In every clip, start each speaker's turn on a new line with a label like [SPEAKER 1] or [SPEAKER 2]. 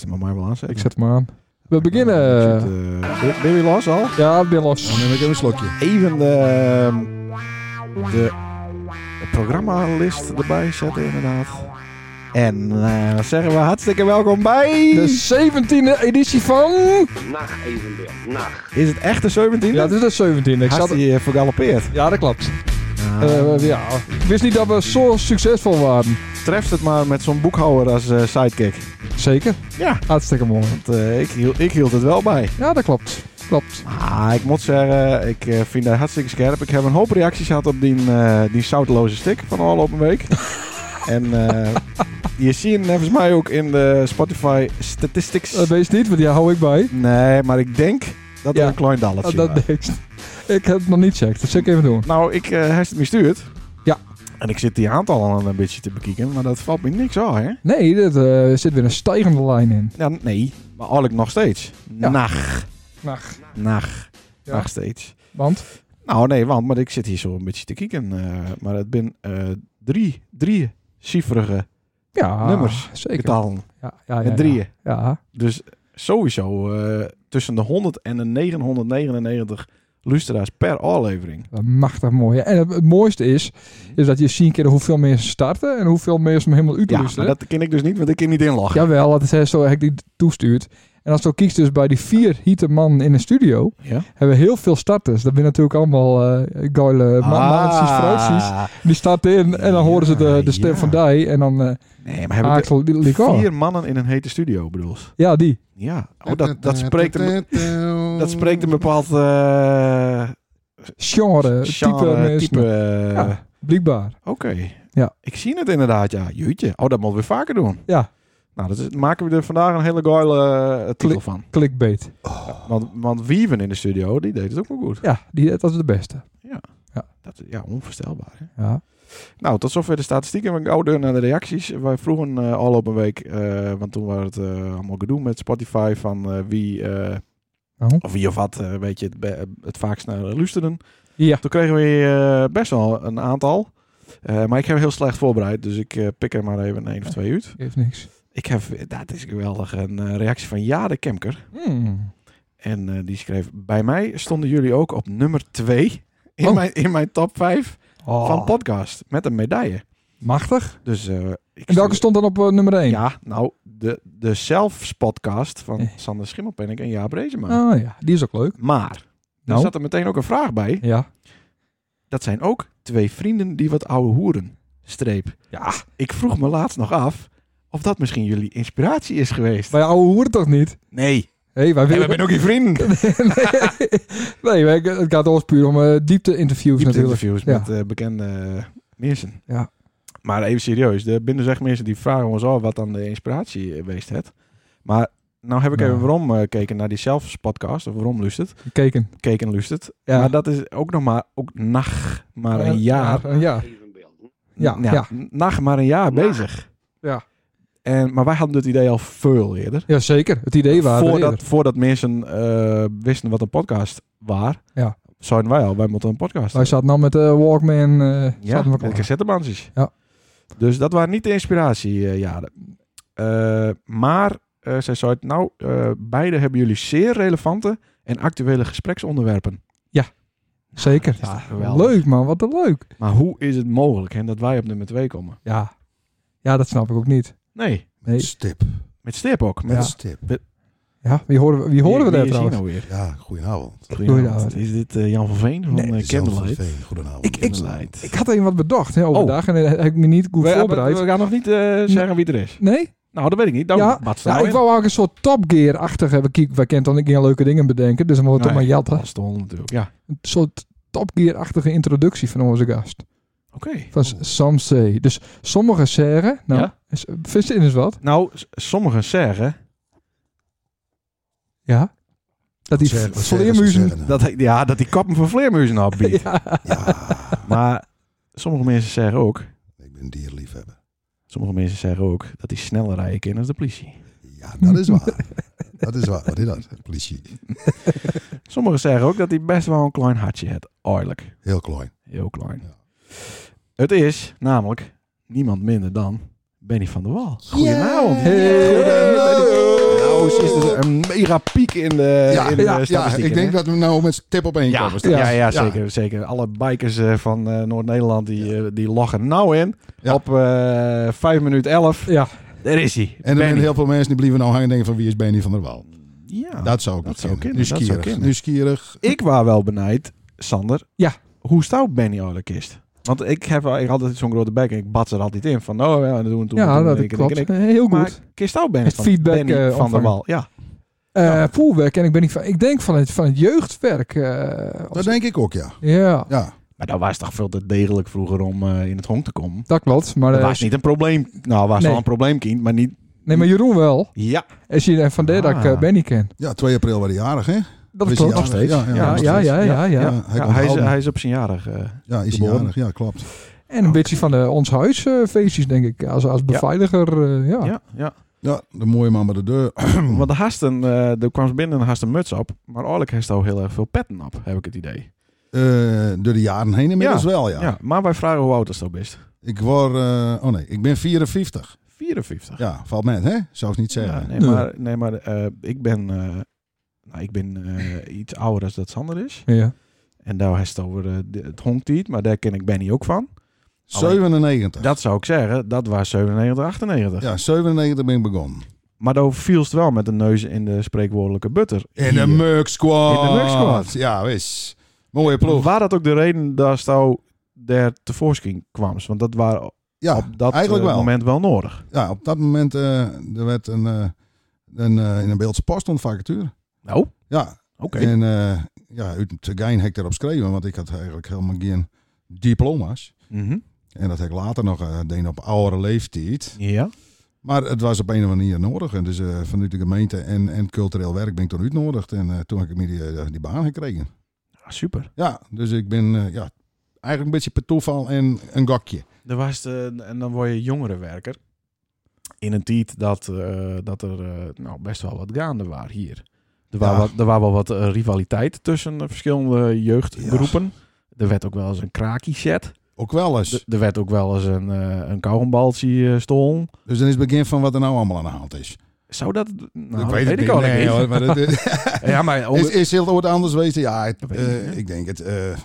[SPEAKER 1] Zet maar maar wel aan, zeg.
[SPEAKER 2] Ik zet hem aan. We beginnen.
[SPEAKER 1] Ik zit, eh, ben- ben je los al?
[SPEAKER 2] Ja, ik ben los.
[SPEAKER 3] Dan neem ik even een slokje.
[SPEAKER 1] Even de, de programmalist erbij zetten, inderdaad. En eh, dan zeggen we hartstikke welkom bij...
[SPEAKER 2] De 17e editie van...
[SPEAKER 4] Nacht evenbeeld. Nacht.
[SPEAKER 1] Is het echt de 17e?
[SPEAKER 2] Ja, dit is de 17e. Ik
[SPEAKER 1] Had
[SPEAKER 2] zat...
[SPEAKER 1] hij eh, vergalopeerd.
[SPEAKER 2] Ja, dat klopt.
[SPEAKER 1] Ah,
[SPEAKER 2] Eh, ja. Ik wist niet dat we zo succesvol waren.
[SPEAKER 1] treft het maar met zo'n boekhouder als eh, sidekick.
[SPEAKER 2] Zeker.
[SPEAKER 1] Ja.
[SPEAKER 2] Hartstikke mooi.
[SPEAKER 1] Want, eh, ik, hiel- ik hield het wel bij.
[SPEAKER 2] Ja, dat klopt. Klopt.
[SPEAKER 1] Ah, ik moet zeggen, ik eh, vind dat hartstikke scherp. Ik heb een hoop reacties gehad op die, eh die zoutloze stick van de afgelopen week. en eh, je ziet hem volgens mij ook in de Spotify statistics.
[SPEAKER 2] Dat Eh, wees niet, want die hou ik bij.
[SPEAKER 1] nee, maar ik denk dat er
[SPEAKER 2] Oh, Ja.
[SPEAKER 1] een klein
[SPEAKER 2] Dat,
[SPEAKER 1] dalletje was.
[SPEAKER 2] dat niks. Ik heb het nog niet gecheckt. Dat zal ik even doen.
[SPEAKER 1] Nou, ik, eh hij heeft het me stuurd.
[SPEAKER 2] Ja.
[SPEAKER 1] En ik zit die aantallen een beetje te bekijken, maar dat valt me niks aan, hè?
[SPEAKER 2] Nee, er zit weer een stijgende lijn in.
[SPEAKER 1] Ja, nee, maar eigenlijk nog steeds.
[SPEAKER 2] Ja.
[SPEAKER 1] Nacht,
[SPEAKER 2] Nacht.
[SPEAKER 1] nacht,
[SPEAKER 2] Ja.
[SPEAKER 1] nog steeds.
[SPEAKER 2] Want?
[SPEAKER 1] Nou, nee, want maar ik zit hier zo een beetje te kijken. eh, maar het zijn eh, drie, drie cijferige
[SPEAKER 2] Ja.
[SPEAKER 1] Nummers.
[SPEAKER 2] Zeker.
[SPEAKER 1] getallen.
[SPEAKER 2] Ah, Ja, ja, ja,
[SPEAKER 1] Met
[SPEAKER 2] ja.
[SPEAKER 1] drieën.
[SPEAKER 2] Ja.
[SPEAKER 1] Dus sowieso eh, tussen de 100 en de 999 luisteraars per aflevering.
[SPEAKER 2] Dat mag toch Eh, mooi. hè? En het, het mooiste is, is dat je ziet keer hoeveel mensen starten en hoeveel mensen hem helemaal
[SPEAKER 1] Mhm. Ja, maar
[SPEAKER 2] uitrusten.
[SPEAKER 1] dat ken ik dus niet, want ik kan niet inlachen.
[SPEAKER 2] Jawel, dat is hè, zo heb ik die toestuurt. En als je kiest dus bij die vier hiete man in een studio,
[SPEAKER 1] Ja?
[SPEAKER 2] hebben we heel veel starters. Dat zijn natuurlijk allemaal eh geile
[SPEAKER 1] Ah.
[SPEAKER 2] ma- maatjes, vrouwtjes. Die starten in en dan horen ze de, de stem
[SPEAKER 1] Ja.
[SPEAKER 2] van die en dan eh
[SPEAKER 1] Nee, maar hebben
[SPEAKER 2] Axel
[SPEAKER 1] we
[SPEAKER 2] die
[SPEAKER 1] de-
[SPEAKER 2] al.
[SPEAKER 1] vier mannen in een hete studio, bedoel je?
[SPEAKER 2] Ja, die.
[SPEAKER 1] Ja, oh, dat, dat, spreekt een, dat spreekt een bepaald eh
[SPEAKER 2] Genre, type
[SPEAKER 1] genre,
[SPEAKER 2] mensen.
[SPEAKER 1] type... eh,
[SPEAKER 2] Ja, blijkbaar.
[SPEAKER 1] Oké.
[SPEAKER 2] Ja.
[SPEAKER 1] Ik zie het inderdaad, ja. Jeetje. Oh, dat moeten we vaker doen.
[SPEAKER 2] Ja.
[SPEAKER 1] Nou, dat is, maken we er vandaag een hele geile eh, titel
[SPEAKER 2] Klik.
[SPEAKER 1] van.
[SPEAKER 2] Clickbait.
[SPEAKER 1] Want, want Wieven in de studio, die deed het ook wel goed.
[SPEAKER 2] Ja, die, dat is de beste.
[SPEAKER 1] Dat, is- ja, onvoorstelbaar. Hè?
[SPEAKER 2] Ja.
[SPEAKER 1] Nou, tot zover de statistieken. We gaan door naar de reacties. Wij vroegen eh, al op een week, eh, want toen waren het eh, allemaal gedoe met Spotify, van eh, wie, eh,
[SPEAKER 2] Oh.
[SPEAKER 1] of wie of wat, eh, weet je, het, be- het vaakst naar luisteren.
[SPEAKER 2] Ja.
[SPEAKER 1] Toen kregen we eh, best wel een aantal. Eh, maar ik heb heel slecht voorbereid, dus ik eh, pik er maar even één of twee uit.
[SPEAKER 2] Geeft niks.
[SPEAKER 1] Ik heb, dat is geweldig, een eh, reactie van Jade Kemker.
[SPEAKER 2] Hmm.
[SPEAKER 1] En eh, die schreef, bij mij stonden jullie ook op nummer 2 in,
[SPEAKER 2] Oh.
[SPEAKER 1] mijn, in mijn top 5
[SPEAKER 2] Oh,
[SPEAKER 1] van podcast. Met een medaille.
[SPEAKER 2] Machtig.
[SPEAKER 1] Dus eh, ik
[SPEAKER 2] En welke stond dan op eh, nummer 1?
[SPEAKER 1] Ja, nou, de, de Selfs podcast van
[SPEAKER 2] Eh.
[SPEAKER 1] Sander Schimmelpenninck en Jaap Reesema.
[SPEAKER 2] Oh ja, die is ook leuk.
[SPEAKER 1] Maar,
[SPEAKER 2] Nou?
[SPEAKER 1] er zat er meteen ook een vraag bij.
[SPEAKER 2] Ja.
[SPEAKER 1] Dat zijn ook twee vrienden die wat oude hoeren. Streep.
[SPEAKER 2] Ja.
[SPEAKER 1] Ik vroeg me laatst nog af of dat misschien jullie inspiratie is geweest.
[SPEAKER 2] Wij ouwe hoeren toch niet?
[SPEAKER 1] Nee,
[SPEAKER 2] Hé, hey, wij
[SPEAKER 1] en
[SPEAKER 2] willen...
[SPEAKER 1] we zijn ook je vrienden.
[SPEAKER 2] nee, wij- het gaat ons puur om eh, diepte-interviews
[SPEAKER 1] Diepte
[SPEAKER 2] natuurlijk.
[SPEAKER 1] interviews
[SPEAKER 2] Ja.
[SPEAKER 1] met eh, bekende eh, mensen.
[SPEAKER 2] Ja.
[SPEAKER 1] Maar even serieus, er binnen zeg mensen die vragen ons al wat dan de inspiratie eh, geweest het. Maar nou heb ik
[SPEAKER 2] Nou.
[SPEAKER 1] even waarom eh, gekeken naar die zelfs podcast, of waarom lustert,
[SPEAKER 2] Gekeken.
[SPEAKER 1] keken en lustert.
[SPEAKER 2] Ja.
[SPEAKER 1] Maar dat is ook nog maar ook nacht, maar
[SPEAKER 2] Eh,
[SPEAKER 1] een jaar.
[SPEAKER 2] Een jaar.
[SPEAKER 4] Evenbeeld.
[SPEAKER 2] Ja,
[SPEAKER 1] Nou,
[SPEAKER 2] ja.
[SPEAKER 1] Nacht, maar een jaar
[SPEAKER 4] Nacht.
[SPEAKER 1] bezig.
[SPEAKER 2] Ja.
[SPEAKER 1] En, maar wij hadden het idee al veel eerder.
[SPEAKER 2] Jazeker, het idee waren er
[SPEAKER 1] voordat,
[SPEAKER 2] eerder.
[SPEAKER 1] voordat mensen eh, wisten wat een podcast was,
[SPEAKER 2] Ja.
[SPEAKER 1] zouden wij al, wij moeten een podcast
[SPEAKER 2] Wij zaten nou met de Walkman. eh
[SPEAKER 1] Ja,
[SPEAKER 2] zaten we
[SPEAKER 1] met
[SPEAKER 2] klaar.
[SPEAKER 1] cassettebandjes.
[SPEAKER 2] Ja.
[SPEAKER 1] Dus dat waren niet de inspiratiejaren. maar eh, zij zei, het, nou, eh, beide hebben jullie zeer relevante en actuele gespreksonderwerpen.
[SPEAKER 2] Zeker.
[SPEAKER 1] Dat is toch
[SPEAKER 2] Ja,
[SPEAKER 1] geweldig.
[SPEAKER 2] leuk man, wat een leuk.
[SPEAKER 1] Maar hoe is het mogelijk hè, dat wij op nummer 2 komen?
[SPEAKER 2] Ja. ja, dat snap ik ook niet.
[SPEAKER 1] Nee,
[SPEAKER 2] Nee.
[SPEAKER 3] Stip.
[SPEAKER 1] met stip ook.
[SPEAKER 3] Met
[SPEAKER 2] Ja.
[SPEAKER 3] een stip.
[SPEAKER 2] Ja, wie horen, we- wie horen we daar trouwens?
[SPEAKER 1] nou weer?
[SPEAKER 3] Ja, goedenavond.
[SPEAKER 1] Goedenavond. Is dit eh, Jan van Veen van
[SPEAKER 2] Nee,
[SPEAKER 1] eh,
[SPEAKER 3] Zelf van
[SPEAKER 1] Candlelight?
[SPEAKER 3] Veen, Goedenavond.
[SPEAKER 2] Ik- ik-
[SPEAKER 1] Candlelight.
[SPEAKER 2] Ik had even wat bedacht hè, overdag en eh, heb ik me niet goed
[SPEAKER 1] We, nou?
[SPEAKER 2] voorbereid.
[SPEAKER 1] Oh. we gaan nog niet eh, zeggen wie er is.
[SPEAKER 2] nee?
[SPEAKER 1] Nou, dat weet ik niet. Dan
[SPEAKER 2] Ja,
[SPEAKER 1] wat staan
[SPEAKER 2] Ja,
[SPEAKER 1] we
[SPEAKER 2] Nou, ik
[SPEAKER 1] in?
[SPEAKER 2] wou eigenlijk een soort Top Gear-achtige... We kijk- Wij kent dan niet heel leuke dingen bedenken, dus dan moeten we
[SPEAKER 1] Nee,
[SPEAKER 2] toch maar jatten.
[SPEAKER 1] Als de hond natuurlijk. Ja,
[SPEAKER 2] Een soort Top Gear-achtige introductie van onze gast.
[SPEAKER 1] oké.
[SPEAKER 2] Van S- Sam C. Dus sommige serre... Nou,
[SPEAKER 1] Oh. Ja.
[SPEAKER 2] is- verzin is wat.
[SPEAKER 1] Nou, s- sommigen zeggen
[SPEAKER 2] Ja. Dat die
[SPEAKER 3] Zeggen, zeggen,
[SPEAKER 2] vleermuizen...
[SPEAKER 3] zeggen.
[SPEAKER 1] Dat, hij- ja, dat die kappen van vleermuizen afbiedt.
[SPEAKER 2] Ja.
[SPEAKER 3] Ja,
[SPEAKER 1] Maar sommige mensen zeggen ook...
[SPEAKER 3] ik ben dierliefhebber.
[SPEAKER 1] Sommige mensen zeggen ook dat die sneller rijden kan als de politie.
[SPEAKER 3] Ja, dat is waar. Dat is waar. Wat is dat? Politie.
[SPEAKER 1] Sommigen zeggen ook dat hij best wel een klein hartje heeft. Oorlijk.
[SPEAKER 3] Heel klein.
[SPEAKER 1] Heel klein.
[SPEAKER 3] Ja.
[SPEAKER 1] Het is namelijk niemand minder dan Benny van der Wal. Goedenavond.
[SPEAKER 2] Hey.
[SPEAKER 1] Nou, is er een mega piek in de, Eh, in de
[SPEAKER 3] ja, ja,
[SPEAKER 1] statistieken,
[SPEAKER 3] ik denk
[SPEAKER 1] hè?
[SPEAKER 3] dat we nou met tip op één
[SPEAKER 1] Ja,
[SPEAKER 3] komen.
[SPEAKER 1] ja,
[SPEAKER 3] straks.
[SPEAKER 1] ja, zeker, zeker. Alle bikers eh, van eh, Noord-Nederland die, eh, die loggen nou in.
[SPEAKER 3] Ja.
[SPEAKER 1] Op eh 5 minuut 11.
[SPEAKER 2] Ja,
[SPEAKER 1] Daar is hij.
[SPEAKER 3] En er zijn heel veel mensen die blijven nou hangen en denken van wie is Benny van der Wal.
[SPEAKER 1] Ja.
[SPEAKER 3] dat zou ik
[SPEAKER 1] dat
[SPEAKER 3] niet
[SPEAKER 1] zou
[SPEAKER 3] kennen.
[SPEAKER 1] kunnen, dat zou
[SPEAKER 3] Nieuwsgierig.
[SPEAKER 1] kunnen.
[SPEAKER 3] Nieuwsgierig.
[SPEAKER 1] Ik was wel benijd, Sander.
[SPEAKER 2] Ja.
[SPEAKER 1] Hoe stout Benny Oleg is? Want ik heb wel- ik had altijd zo'n grote bek en ik bats er altijd in. Van nou, ja, dat doen we toen.
[SPEAKER 2] ja
[SPEAKER 1] doen we ik,
[SPEAKER 2] dat
[SPEAKER 1] en ik en
[SPEAKER 2] klopt.
[SPEAKER 1] ik.
[SPEAKER 2] Heel goed.
[SPEAKER 1] Maar kist stout ben
[SPEAKER 2] Het
[SPEAKER 1] van
[SPEAKER 2] feedback,
[SPEAKER 1] Benny
[SPEAKER 2] eh,
[SPEAKER 1] van der
[SPEAKER 2] ontvangen.
[SPEAKER 1] Wal. Ja.
[SPEAKER 2] Eh, Poelwerk en ik ben niet van. Ik denk van het, van het jeugdwerk. eh,
[SPEAKER 3] Dat denk ik ook, ja.
[SPEAKER 2] ja,
[SPEAKER 3] Ja,
[SPEAKER 1] Maar dat was toch veel te degelijk vroeger om eh, in het honk te komen.
[SPEAKER 2] dat klopt. Maar,
[SPEAKER 1] Dat
[SPEAKER 2] eh,
[SPEAKER 1] was niet een probleem. Nou, was
[SPEAKER 2] Nee.
[SPEAKER 1] wel een probleemkind, maar niet.
[SPEAKER 2] Nee, maar Jeroen wel.
[SPEAKER 1] Ja.
[SPEAKER 2] En zie je en van der dat ik
[SPEAKER 1] Ah.
[SPEAKER 2] eh, Benny ken.
[SPEAKER 3] ja 2 april waren die jarig, hè?
[SPEAKER 2] Dat
[SPEAKER 3] Wist
[SPEAKER 2] klopt.
[SPEAKER 3] hij nog steeds? Ja, ja,
[SPEAKER 2] Ja,
[SPEAKER 3] nog
[SPEAKER 2] ja,
[SPEAKER 3] steeds.
[SPEAKER 2] ja, ja, ja.
[SPEAKER 3] Ja, hij
[SPEAKER 1] Ja,
[SPEAKER 3] komt
[SPEAKER 1] hij, is,
[SPEAKER 3] houden.
[SPEAKER 1] hij is op zijn jarig. eh.
[SPEAKER 3] Ja, is hij
[SPEAKER 1] Geboren.
[SPEAKER 3] jarig? Ja, klopt.
[SPEAKER 2] En
[SPEAKER 1] Oh,
[SPEAKER 2] een beetje van de ons huis eh, feestjes, denk ik. Als, als beveiliger, eh, ja.
[SPEAKER 1] ja, ja.
[SPEAKER 3] Ja, de mooie man bij de deur.
[SPEAKER 1] Want de hasten, eh er kwam ze binnen en haast een muts op. Maar eigenlijk heeft hij al heel erg veel petten op, heb ik het idee.
[SPEAKER 3] Eh, door de jaren heen inmiddels
[SPEAKER 1] Ja,
[SPEAKER 3] wel, ja.
[SPEAKER 1] Ja. maar wij vragen hoe oud is dat best.
[SPEAKER 3] Ik word... eh, oh nee, ik ben 54.
[SPEAKER 1] 54.
[SPEAKER 3] Ja, valt met, hè? Zou ik niet zeggen.
[SPEAKER 1] Ja, nee,
[SPEAKER 2] Nee.
[SPEAKER 1] maar, nee, maar eh, ik ben, eh, nou, ik ben eh, iets ouder dan dat Sander is.
[SPEAKER 2] Ja.
[SPEAKER 1] En daar heeft het over eh, de- het honktiet, maar daar ken ik Benny ook van.
[SPEAKER 3] 97.
[SPEAKER 1] Dat zou ik zeggen, dat was 97, 98.
[SPEAKER 3] Ja, 97 ben ik begonnen.
[SPEAKER 1] Maar daar vielst wel met de neus in de spreekwoordelijke butter.
[SPEAKER 3] In
[SPEAKER 1] Hier.
[SPEAKER 3] de Merck Squad.
[SPEAKER 1] In de Merck Squad.
[SPEAKER 3] Ja, wis. Mooie ploeg.
[SPEAKER 1] Waar dat ook de reden dat jou daar tevoorschijn kwam? Want dat was
[SPEAKER 3] Ja,
[SPEAKER 1] op dat
[SPEAKER 3] eigenlijk
[SPEAKER 1] eh,
[SPEAKER 3] wel.
[SPEAKER 1] moment wel nodig.
[SPEAKER 3] Ja, op dat moment eh, er werd een, eh, een, eh, in een beeldse post een vacature.
[SPEAKER 1] Nou, oké.
[SPEAKER 3] Ja, en eh ja, uit het gein heb ik erop geschreven, want ik had eigenlijk helemaal geen diploma's.
[SPEAKER 1] Mhm.
[SPEAKER 3] En dat heb ik later nog eh deed op oudere leeftijd.
[SPEAKER 1] Ja.
[SPEAKER 3] Maar het was op een of andere manier nodig. En dus eh, vanuit de gemeente en, en cultureel werk ben ik toen uitnodigd. En eh, toen heb ik me die, eh, die baan gekregen.
[SPEAKER 1] Ah, super.
[SPEAKER 3] Ja, dus ik ben eh, ja, eigenlijk een beetje per toeval en een gokje.
[SPEAKER 1] Er was de, en dan word je jongerenwerker. In een tijd dat, eh, dat er eh, nou, best wel wat gaande was hier. Er was
[SPEAKER 3] Ja.
[SPEAKER 1] wat, er was wel wat eh, rivaliteit tussen eh, verschillende jeugdgroepen. Er werd ook wel eens een kraakie set.
[SPEAKER 3] Ook wel eens.
[SPEAKER 1] Er- Er werd ook wel eens een, eh een kauwgombaltje eh stolen.
[SPEAKER 3] dus dan is het begin van wat er nou allemaal aan de hand is.
[SPEAKER 1] Zou dat... Nou,
[SPEAKER 3] ik weet het
[SPEAKER 1] ik
[SPEAKER 3] niet.
[SPEAKER 1] al
[SPEAKER 3] Nee,
[SPEAKER 1] niet.
[SPEAKER 3] hoor, maar het,
[SPEAKER 1] Ja, maar...
[SPEAKER 3] is, is heel wat anders geweest? Ja, het,
[SPEAKER 1] Dat weet
[SPEAKER 3] eh,
[SPEAKER 1] ik niet, hè?
[SPEAKER 3] ik denk het. eh, eh,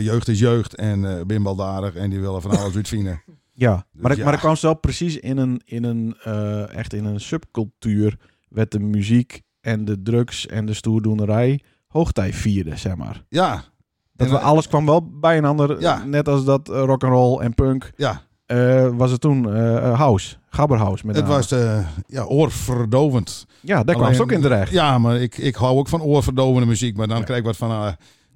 [SPEAKER 3] jeugd is jeugd en eh ben baldadig en die willen van alles uitvinden.
[SPEAKER 1] Ja, maar, ik,
[SPEAKER 3] Dus ja.
[SPEAKER 1] maar ik kwam zelf precies in een, in een eh, echt in een subcultuur werd de muziek en de drugs en de stoerdoenerij hoogtij vierde, zeg maar.
[SPEAKER 3] Ja,
[SPEAKER 1] Dat
[SPEAKER 3] En,
[SPEAKER 1] we,
[SPEAKER 3] eh,
[SPEAKER 1] alles kwam wel bij een ander,
[SPEAKER 3] Ja.
[SPEAKER 1] net als dat eh, rock rock'n'roll en punk.
[SPEAKER 3] ja
[SPEAKER 1] eh, was het toen eh, house, gabberhouse met
[SPEAKER 3] het was eh, ja, oorverdovend.
[SPEAKER 1] Ja, daar kwam
[SPEAKER 3] Alleen-
[SPEAKER 1] ze ook in terecht.
[SPEAKER 3] Ja, maar ik, ik hou ook van oorverdovende muziek. Maar dan krijg ik wat van, eh,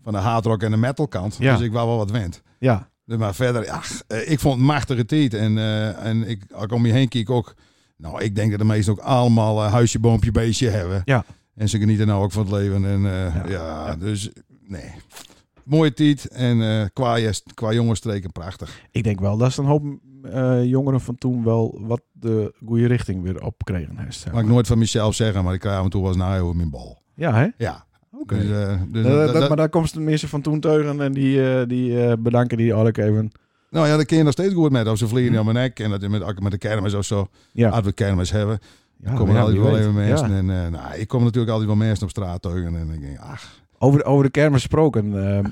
[SPEAKER 3] van de hardrock en de metal kant.
[SPEAKER 1] Ja.
[SPEAKER 3] Dus ik wou wel wat wend.
[SPEAKER 1] Ja,
[SPEAKER 3] Dus Maar verder, ja, eh, ik vond het machtige tijd. En, eh, en ik, als ik om je heen kijk ook... Nou, ik denk dat de meesten ook allemaal eh, huisje, boompje, beestje hebben.
[SPEAKER 1] Ja.
[SPEAKER 3] En ze genieten nou ook van het leven. En eh,
[SPEAKER 1] Ja.
[SPEAKER 3] ja. dus nee. Mooie tijd. En eh, qua, je- qua jongensstreken prachtig.
[SPEAKER 1] ik denk wel dat ze een hoop eh, jongeren van toen wel wat de goede richting weer op kregen. hè, zeg
[SPEAKER 3] Mag ik
[SPEAKER 1] maar.
[SPEAKER 3] nooit van mezelf zeggen, maar ik krijg af en toe wel eens naar over mijn bal.
[SPEAKER 1] Ja, hè?
[SPEAKER 3] Ja.
[SPEAKER 1] Oké.
[SPEAKER 3] Dus, eh, dus
[SPEAKER 1] Eh,
[SPEAKER 3] dat-
[SPEAKER 1] dat-
[SPEAKER 3] dat-
[SPEAKER 1] maar daar komt de mensen van toen teugen en die, eh, die eh, bedanken die Alec even.
[SPEAKER 3] Nou ja, dat kun je nog steeds goed met. Of ze vliegen aan mijn nek en dat je met, met de kermis of zo.
[SPEAKER 1] Ja.
[SPEAKER 3] Als we kermis hebben,
[SPEAKER 1] Ja,
[SPEAKER 3] komen
[SPEAKER 1] ja,
[SPEAKER 3] Ah, er altijd
[SPEAKER 1] wie
[SPEAKER 3] wel
[SPEAKER 1] weet.
[SPEAKER 3] even mensen.
[SPEAKER 1] Ja.
[SPEAKER 3] En, eh, nou, ik kom natuurlijk altijd wel mensen op straat tegen. En ik denk, ach,
[SPEAKER 1] Over, over de kermis gesproken. ehm,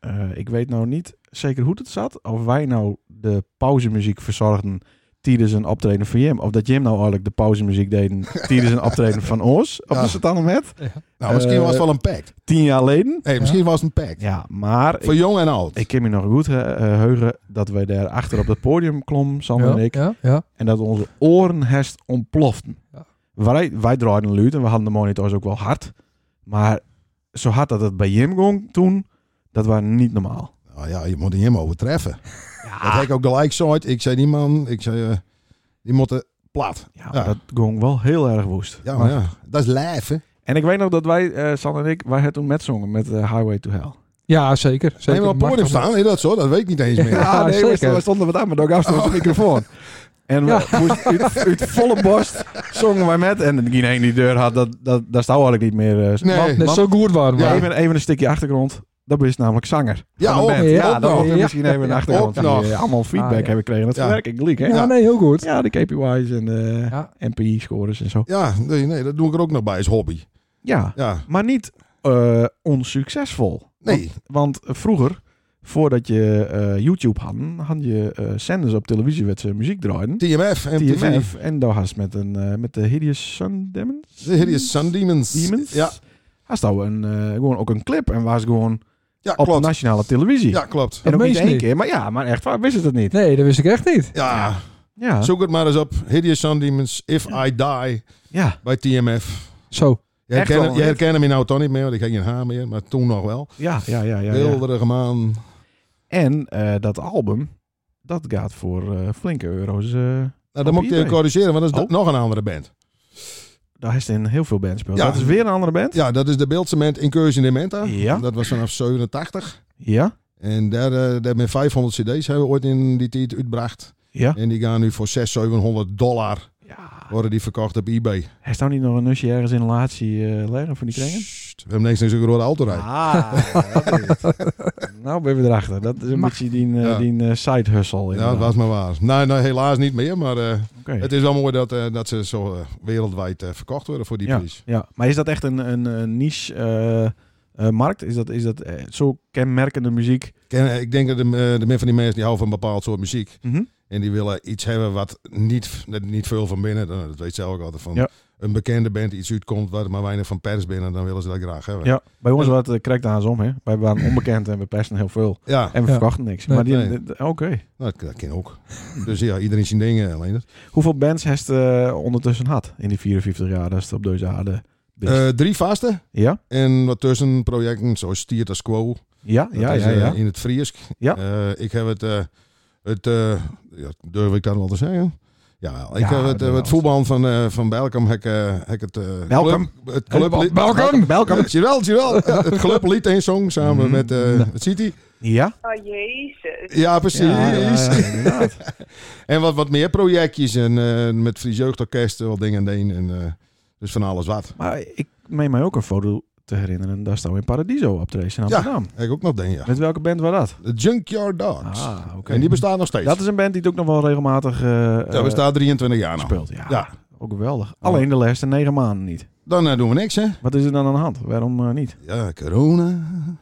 [SPEAKER 1] eh, ik weet nou niet zeker hoe het zat. Of wij nou de pauzemuziek verzorgden tijdens een optreden van Jim. Of dat Jim nou eigenlijk de pauzemuziek deed tijdens een optreden van ons. Op
[SPEAKER 3] Ja.
[SPEAKER 1] de Satan met.
[SPEAKER 3] nou, misschien
[SPEAKER 1] Eh,
[SPEAKER 3] was het wel een pact.
[SPEAKER 1] Tien jaar geleden.
[SPEAKER 3] Hey, misschien was het een pact.
[SPEAKER 1] Ja, maar
[SPEAKER 3] Voor
[SPEAKER 1] ik,
[SPEAKER 3] jong en oud.
[SPEAKER 1] ik ken me nog goed hè, eh, heugen dat wij daar achter op dat podium klom, Sam
[SPEAKER 2] ja,
[SPEAKER 1] en ik.
[SPEAKER 2] Ja, ja.
[SPEAKER 1] En dat onze oren herst ontploften.
[SPEAKER 2] Ja.
[SPEAKER 1] Wij, wij draaiden luid en we hadden de monitors ook wel hard. Maar zo hard dat het bij Jim ging toen, dat was niet normaal.
[SPEAKER 3] Nou ja, je moet hem overtreffen.
[SPEAKER 1] Ah.
[SPEAKER 3] Dat heb ik ook gelijk zoiets. Ik zei, die man, ik zei, eh, die moeten plat.
[SPEAKER 1] Ja, maar dat ging wel heel erg woest.
[SPEAKER 3] Ja, maar ja, dat is lijf, hè?
[SPEAKER 1] En ik weet nog dat wij, eh San en ik, wij het toen met zongen met eh, Highway to Hell.
[SPEAKER 2] ja, zeker. zeker.
[SPEAKER 3] Helemaal op het
[SPEAKER 2] Mag
[SPEAKER 3] podium
[SPEAKER 2] dat wel.
[SPEAKER 3] staan, nee, dat zo, dat weet ik niet eens meer.
[SPEAKER 2] Ja.
[SPEAKER 1] nee, we
[SPEAKER 2] zeker.
[SPEAKER 1] stonden- we stonden wat aan, maar dan gaf ze ons de microfoon. Oh. En we moest uit, uit volle borst zongen wij met. En degene die deur had, dat, dat, dat stond eigenlijk niet meer. eh,
[SPEAKER 3] Nee.
[SPEAKER 1] want-
[SPEAKER 2] Net
[SPEAKER 1] want-
[SPEAKER 2] zo goed waren we.
[SPEAKER 3] Ja.
[SPEAKER 1] Even, even een stukje achtergrond. Dat is namelijk zanger.
[SPEAKER 3] Ja,
[SPEAKER 1] van een
[SPEAKER 3] ook,
[SPEAKER 1] band.
[SPEAKER 2] ja,
[SPEAKER 1] ja, dat
[SPEAKER 3] ook
[SPEAKER 1] wordt
[SPEAKER 2] nog.
[SPEAKER 1] misschien even een
[SPEAKER 2] Ja,
[SPEAKER 1] achtergrond.
[SPEAKER 3] ook
[SPEAKER 1] die,
[SPEAKER 3] nog.
[SPEAKER 1] eh, allemaal feedback
[SPEAKER 2] Ah, ja.
[SPEAKER 1] hebben gekregen. Dat
[SPEAKER 3] Ja.
[SPEAKER 1] werk ik leuk, hè?
[SPEAKER 2] Ja,
[SPEAKER 1] Ja.
[SPEAKER 2] nee, heel goed.
[SPEAKER 1] de KPI's en de
[SPEAKER 2] Ja.
[SPEAKER 1] NPI-scores en zo.
[SPEAKER 3] Ja, nee, nee, dat doe ik er ook nog bij als hobby.
[SPEAKER 1] Ja,
[SPEAKER 3] Ja,
[SPEAKER 1] maar niet eh, onsuccesvol.
[SPEAKER 3] nee.
[SPEAKER 1] Want vroeger, voordat je eh, YouTube had, had je eh, zenders op televisie waar ze muziek draaiden.
[SPEAKER 3] TMF, MTV.
[SPEAKER 1] TMF. En daar had ze met, een, eh, met de Hideous Sun Demons.
[SPEAKER 3] De Hideous Sun Demons.
[SPEAKER 1] Demons.
[SPEAKER 3] Ja,
[SPEAKER 1] Had ze daar een, eh, gewoon ook een clip en was gewoon
[SPEAKER 3] ja
[SPEAKER 1] op de
[SPEAKER 3] klopt.
[SPEAKER 1] nationale televisie.
[SPEAKER 3] Ja, klopt.
[SPEAKER 1] En
[SPEAKER 2] Dat
[SPEAKER 1] ook niet
[SPEAKER 2] meen je
[SPEAKER 1] één
[SPEAKER 2] niet.
[SPEAKER 1] keer, maar ja, maar echt waar, wist het het niet.
[SPEAKER 2] Nee, dat wist ik echt niet.
[SPEAKER 3] Ja,
[SPEAKER 1] Ja,
[SPEAKER 3] zoek het maar eens op. Hideous Sun Demons, If I Die,
[SPEAKER 1] ja,
[SPEAKER 3] bij TMF.
[SPEAKER 2] Zo.
[SPEAKER 3] Je
[SPEAKER 1] Echt
[SPEAKER 3] herkent,
[SPEAKER 1] wel,
[SPEAKER 3] je
[SPEAKER 1] hè?
[SPEAKER 3] herkent hem nou toch niet meer, want ik heb geen haar meer. Maar toen nog wel.
[SPEAKER 1] ja, ja, ja. ja, ja.
[SPEAKER 3] Wilderige man. Nou,
[SPEAKER 1] En eh, dat album, dat gaat voor eh, flinke euro's. eh
[SPEAKER 3] Nou,
[SPEAKER 1] Op
[SPEAKER 3] dan moet ik je
[SPEAKER 1] eBay.
[SPEAKER 3] corrigeren, want dat is
[SPEAKER 1] Oh.
[SPEAKER 3] nog een andere band.
[SPEAKER 1] daar is het in heel veel bands speelt.
[SPEAKER 3] Ja.
[SPEAKER 1] Dat is weer een andere band?
[SPEAKER 3] Ja, dat is de Beeldcement Incursion Dementa.
[SPEAKER 1] Ja.
[SPEAKER 3] Dat was vanaf 87.
[SPEAKER 1] Ja,
[SPEAKER 3] En daar, eh, daar met 500 cd's hebben we ooit in die tijd uitgebracht.
[SPEAKER 1] ja.
[SPEAKER 3] En die gaan nu voor 600, 700 dollar
[SPEAKER 1] ja.
[SPEAKER 3] worden die verkocht op eBay.
[SPEAKER 1] Hij staat niet nog een nusje ergens in een relatie eh, liggen van die kringen?
[SPEAKER 3] Sst, we hebben niks naar zo'n rode auto rijden.
[SPEAKER 1] Ah, nou ben je erachter. Dat is een
[SPEAKER 2] Mag.
[SPEAKER 1] beetje die, eh,
[SPEAKER 3] Ja.
[SPEAKER 1] die eh, side hustle.
[SPEAKER 3] ja, dat
[SPEAKER 1] inderdaad.
[SPEAKER 3] was maar waar. Nee, nee, helaas niet meer. Maar eh,
[SPEAKER 1] Oké.
[SPEAKER 3] het is wel mooi dat, eh, dat ze zo eh, wereldwijd eh, verkocht worden voor die
[SPEAKER 1] ja,
[SPEAKER 3] prijs.
[SPEAKER 1] ja, maar is dat echt een, een, een niche eh, eh, markt? Is dat, is dat eh, zo kenmerkende muziek?
[SPEAKER 3] Ken- eh, Ik denk dat de, eh, de min van die mensen die houden van een bepaald soort muziek.
[SPEAKER 1] Mhm.
[SPEAKER 3] En die willen iets hebben wat niet, dat niet veel van binnen. Nou, Dat weet ze ook altijd van.
[SPEAKER 1] Ja.
[SPEAKER 3] Een bekende band die iets uitkomt waar maar weinig van pers binnen. Dan willen ze dat graag hebben.
[SPEAKER 1] Ja, bij ons wat het krijgt aan om. Hè? Wij waren onbekend en we pesten heel veel.
[SPEAKER 3] Ja,
[SPEAKER 1] En we
[SPEAKER 2] Ja.
[SPEAKER 1] verkochten niks.
[SPEAKER 2] Nee.
[SPEAKER 1] maar die,
[SPEAKER 3] Nee.
[SPEAKER 1] d- oké.
[SPEAKER 3] nou, dat, dat kan ook. Dus ja, iedereen zijn dingen alleen. het.
[SPEAKER 1] Hoeveel bands heeft eh ondertussen had in die 54 jaar dat ze op deze aarde bent?
[SPEAKER 3] Eh, drie vaste
[SPEAKER 1] ja?
[SPEAKER 3] en wat tussenprojecten zoals Stiert als Quo.
[SPEAKER 1] Ja,
[SPEAKER 3] Dat
[SPEAKER 1] ja,
[SPEAKER 3] is,
[SPEAKER 1] ja,
[SPEAKER 3] eh,
[SPEAKER 1] ja.
[SPEAKER 3] in het Friesk.
[SPEAKER 1] Ja.
[SPEAKER 3] Eh, ik heb het, eh, het eh, ja, durf ik dat wel te zeggen? Ja, ik
[SPEAKER 1] Ja,
[SPEAKER 3] heb het,
[SPEAKER 1] dat
[SPEAKER 3] eh,
[SPEAKER 1] wel.
[SPEAKER 3] het voetbal van, eh van Belkom. Heb, ik, eh, heb ik het, eh,
[SPEAKER 1] Belkom?
[SPEAKER 3] club- het club
[SPEAKER 2] Welkom!
[SPEAKER 1] Welkom.
[SPEAKER 3] Jawel, jawel. Ja, Het clublied één song samen
[SPEAKER 1] Mhm.
[SPEAKER 3] met eh, met City.
[SPEAKER 1] Ja?
[SPEAKER 5] Oh, jezus.
[SPEAKER 3] Ja, precies.
[SPEAKER 1] Ja, ja, ja, inderdaad.
[SPEAKER 3] En wat, wat meer projectjes en eh, met Fries Jeugdorkest, wat dingen en een. En, eh, dus van alles wat.
[SPEAKER 1] Maar ik meen mij ook een foto te herinneren. Daar staan we in Paradiso op Trace in
[SPEAKER 3] Ja.
[SPEAKER 1] Amsterdam.
[SPEAKER 3] Heb ik ook nog dingen, ja.
[SPEAKER 1] Met welke band was dat?
[SPEAKER 3] De Junkyard Dogs.
[SPEAKER 1] Ah, oké.
[SPEAKER 3] En die bestaat nog steeds.
[SPEAKER 1] Dat is een band die het ook nog wel regelmatig eh
[SPEAKER 3] ja,
[SPEAKER 1] eh,
[SPEAKER 3] bestaat 23 jaar nou. nog.
[SPEAKER 1] speelt. Ja,
[SPEAKER 3] Ja.
[SPEAKER 1] ook geweldig. Alleen de laatste negen maanden niet.
[SPEAKER 3] Dan eh, doen we niks, hè?
[SPEAKER 1] Wat is er dan aan de hand? Waarom eh, niet?
[SPEAKER 3] Ja, corona.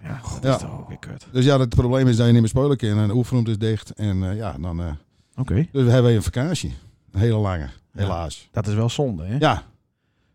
[SPEAKER 1] Ja, god,
[SPEAKER 3] Ja.
[SPEAKER 1] is toch ook weer kut.
[SPEAKER 3] Dus ja, het probleem is dat je niet meer spelen kan. En de oefenroom is dicht. En eh, ja, dan eh,
[SPEAKER 1] Oké,
[SPEAKER 3] dus we hebben een vakantie. Een hele lange, helaas.
[SPEAKER 1] dat is wel zonde, hè?
[SPEAKER 3] Ja.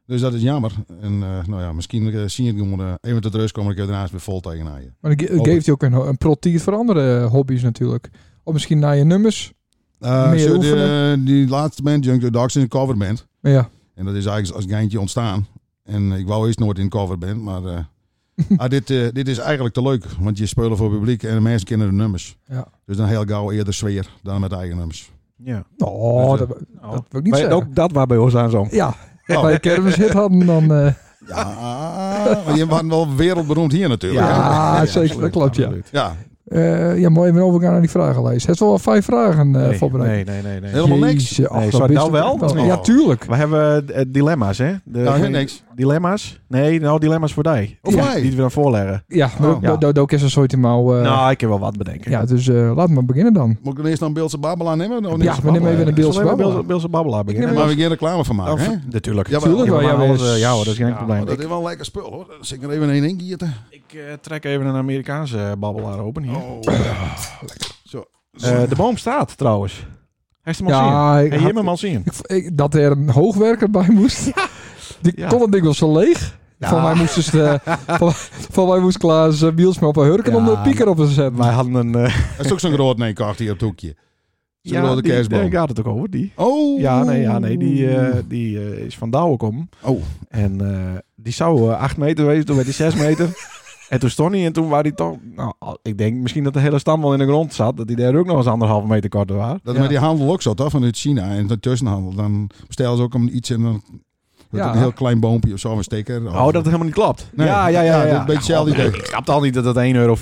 [SPEAKER 3] Dus dat is jammer. En eh, nou ja, misschien eh, zie je het gewoon eh, even tot rust komen. Ik heb daarnaast weer vol tegenaan je.
[SPEAKER 2] Maar het geeft je ook een, een protier voor andere eh, hobby's natuurlijk. Of misschien naar je nummers.
[SPEAKER 3] Eh,
[SPEAKER 2] Meer
[SPEAKER 3] zo, die,
[SPEAKER 2] oefenen.
[SPEAKER 3] eh, die laatste band, Junk the Dogs, is een coverband.
[SPEAKER 2] Maar ja,
[SPEAKER 3] En dat is eigenlijk als geintje ontstaan. En ik wou eerst nooit in een coverband, maar eh, ah, dit, eh, dit is eigenlijk te leuk. Want je speelt voor publiek en de mensen kennen de nummers.
[SPEAKER 2] Ja.
[SPEAKER 3] Dus dan heel gauw eerder sfeer dan met eigen nummers.
[SPEAKER 1] ja.
[SPEAKER 2] oh, dat,
[SPEAKER 1] Nou,
[SPEAKER 2] dat wil ik niet
[SPEAKER 1] maar
[SPEAKER 2] zeggen.
[SPEAKER 1] ook dat waar bij ons aan zo.
[SPEAKER 2] Ja,
[SPEAKER 1] Oh.
[SPEAKER 2] als wij een kermishit hadden dan... eh,
[SPEAKER 3] Ja, maar je was wel wereldberoemd hier natuurlijk. hè?
[SPEAKER 2] Ja, zeker, dat klopt, ja.
[SPEAKER 1] absoluut.
[SPEAKER 3] Ja,
[SPEAKER 2] eh, ja, maar even overgaan naar die vragenlijst. Het is wel wel vijf vragen eh
[SPEAKER 1] Nee,
[SPEAKER 2] voorbereid.
[SPEAKER 1] nee, nee, nee, nee.
[SPEAKER 3] Heel- Helemaal niks?
[SPEAKER 2] Jeetje, ach,
[SPEAKER 1] Nee,
[SPEAKER 2] dat
[SPEAKER 1] zou het
[SPEAKER 2] wist
[SPEAKER 1] nou
[SPEAKER 2] ik
[SPEAKER 1] wel,
[SPEAKER 2] echt
[SPEAKER 1] of niet?
[SPEAKER 2] Ja, tuurlijk.
[SPEAKER 1] We hebben eh, dilemma's, hè? De,
[SPEAKER 3] nou, helemaal niks.
[SPEAKER 1] Dilemma's? Nee, nou, dilemma's voor die.
[SPEAKER 3] Of
[SPEAKER 1] Ja,
[SPEAKER 3] wij.
[SPEAKER 1] Die we dan voorleggen.
[SPEAKER 2] Ja, maar
[SPEAKER 1] Oh, Ja.
[SPEAKER 2] dat- dat dat is een soort mouw. eh,
[SPEAKER 1] nou, ik heb wel wat bedenken.
[SPEAKER 2] ja, dus eh laten we maar beginnen dan.
[SPEAKER 3] Moet ik dan eerst dan Beeldse Babelaar nemen? Of
[SPEAKER 2] Ja,
[SPEAKER 3] niks?
[SPEAKER 2] we nemen even een beeldje
[SPEAKER 1] Zullen we
[SPEAKER 2] babbel.
[SPEAKER 1] bij Beelse Babbelaar beginnen?
[SPEAKER 2] neem
[SPEAKER 3] Daar mag ik hier reclame van maken,
[SPEAKER 1] Of-
[SPEAKER 3] hè?
[SPEAKER 1] Natuurlijk.
[SPEAKER 3] Ja, maar-
[SPEAKER 1] Tuurlijk
[SPEAKER 2] Tuurlijk wel,
[SPEAKER 1] maar
[SPEAKER 2] ja,
[SPEAKER 1] alles,
[SPEAKER 2] maar-
[SPEAKER 1] eh, ja hoor, dat is geen
[SPEAKER 2] Ja,
[SPEAKER 1] probleem.
[SPEAKER 3] Dat
[SPEAKER 1] Ik,
[SPEAKER 3] is wel een lekker spul, hoor. Dan zit ik er even in één gieten.
[SPEAKER 1] ik, eh, trek even een Amerikaanse babbelaar open hier.
[SPEAKER 3] Oh. Zo.
[SPEAKER 1] Eh, de boom staat trouwens. Hij is hem al zien.
[SPEAKER 2] Ja, ik
[SPEAKER 1] Hij
[SPEAKER 2] had-
[SPEAKER 1] heeft hem al zien.
[SPEAKER 2] ik- ik- dat er een hoogwerker bij moest. Die
[SPEAKER 1] Ja.
[SPEAKER 2] kon het ding wel zo leeg. Van mij moest, dus, eh, van, van mij moest Klaas eh, Bielsma op een hurken om
[SPEAKER 1] Ja,
[SPEAKER 2] de pieker op te zetten.
[SPEAKER 1] Wij hadden een... eh,
[SPEAKER 3] Dat is ook zo'n groot neenkaart hier op het hoekje. Zo'n
[SPEAKER 1] ja,
[SPEAKER 3] grote
[SPEAKER 1] die, daar
[SPEAKER 3] kerstboom.
[SPEAKER 1] gaat het ook over, die.
[SPEAKER 3] Oh.
[SPEAKER 1] Ja, nee, ja, nee. Die, eh, die eh, is van Douwe kom.
[SPEAKER 3] Oh.
[SPEAKER 1] En eh, die zou eh, 8 meter wezen, toen werd hij 6 meter. En toen stond hij en toen was hij toch... Nou, al- ik denk misschien dat de hele stam wel in de grond zat. Dat hij daar ook nog eens anderhalve meter korter was.
[SPEAKER 3] Dat
[SPEAKER 2] Ja.
[SPEAKER 3] is met die handel ook zo, toch? Vanuit China en de tussenhandel. Dan bestellen ze ook om iets en dan... wordt
[SPEAKER 2] Ja.
[SPEAKER 3] het Een heel klein boompje of zo, een steker.
[SPEAKER 1] Oh, dat het helemaal niet klopt.
[SPEAKER 3] Nee.
[SPEAKER 1] Ja, ja, ja.
[SPEAKER 3] Ja,
[SPEAKER 1] ja, Nou,
[SPEAKER 3] dat is een beetje hetzelfde idee.
[SPEAKER 1] Ik snapte al niet dat dat 1,34 euro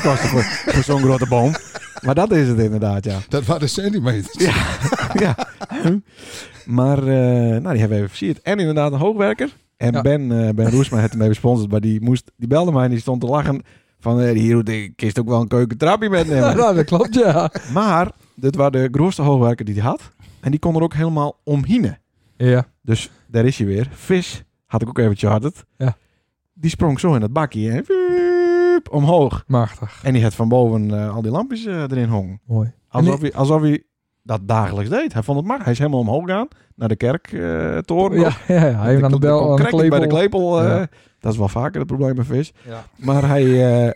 [SPEAKER 1] kostte voor, voor zo'n grote boom. Maar dat is het inderdaad, ja.
[SPEAKER 3] Dat waren centimeters. Ja.
[SPEAKER 1] ja. Maar eh, nou, die hebben we even versierd. En inderdaad een hoogwerker. En
[SPEAKER 2] Ja.
[SPEAKER 1] Ben, eh ben Roesma heeft hem even gesponsord. Maar die, moest, die belde mij en die stond te lachen. Van eh, hier moet ik kist ook wel een keukentrapje
[SPEAKER 2] Ja,
[SPEAKER 1] metnemen.
[SPEAKER 2] nou, dat klopt, ja.
[SPEAKER 1] maar dit was de grootste hoogwerker die hij had. En die kon er ook helemaal omhinen.
[SPEAKER 2] Ja,
[SPEAKER 1] Dus daar is hij weer. Vis had ik ook even charterd.
[SPEAKER 2] Ja.
[SPEAKER 1] Die sprong zo in dat bakje en wiep, omhoog.
[SPEAKER 2] machtig.
[SPEAKER 1] En die had van boven eh, al die lampjes eh, erin hongen.
[SPEAKER 2] Mooi.
[SPEAKER 1] Alsof hij, alsof hij dat dagelijks deed. Hij vond het makkelijk. Hij is helemaal omhoog gegaan naar de kerktoren.
[SPEAKER 2] Ja, ja, ja. Hij heeft aan de bel, aan de
[SPEAKER 1] bij de
[SPEAKER 2] klepel.
[SPEAKER 1] klepel. eh,
[SPEAKER 2] Ja.
[SPEAKER 1] Dat is wel vaker het probleem met vis.
[SPEAKER 2] Ja.
[SPEAKER 1] Maar hij, eh,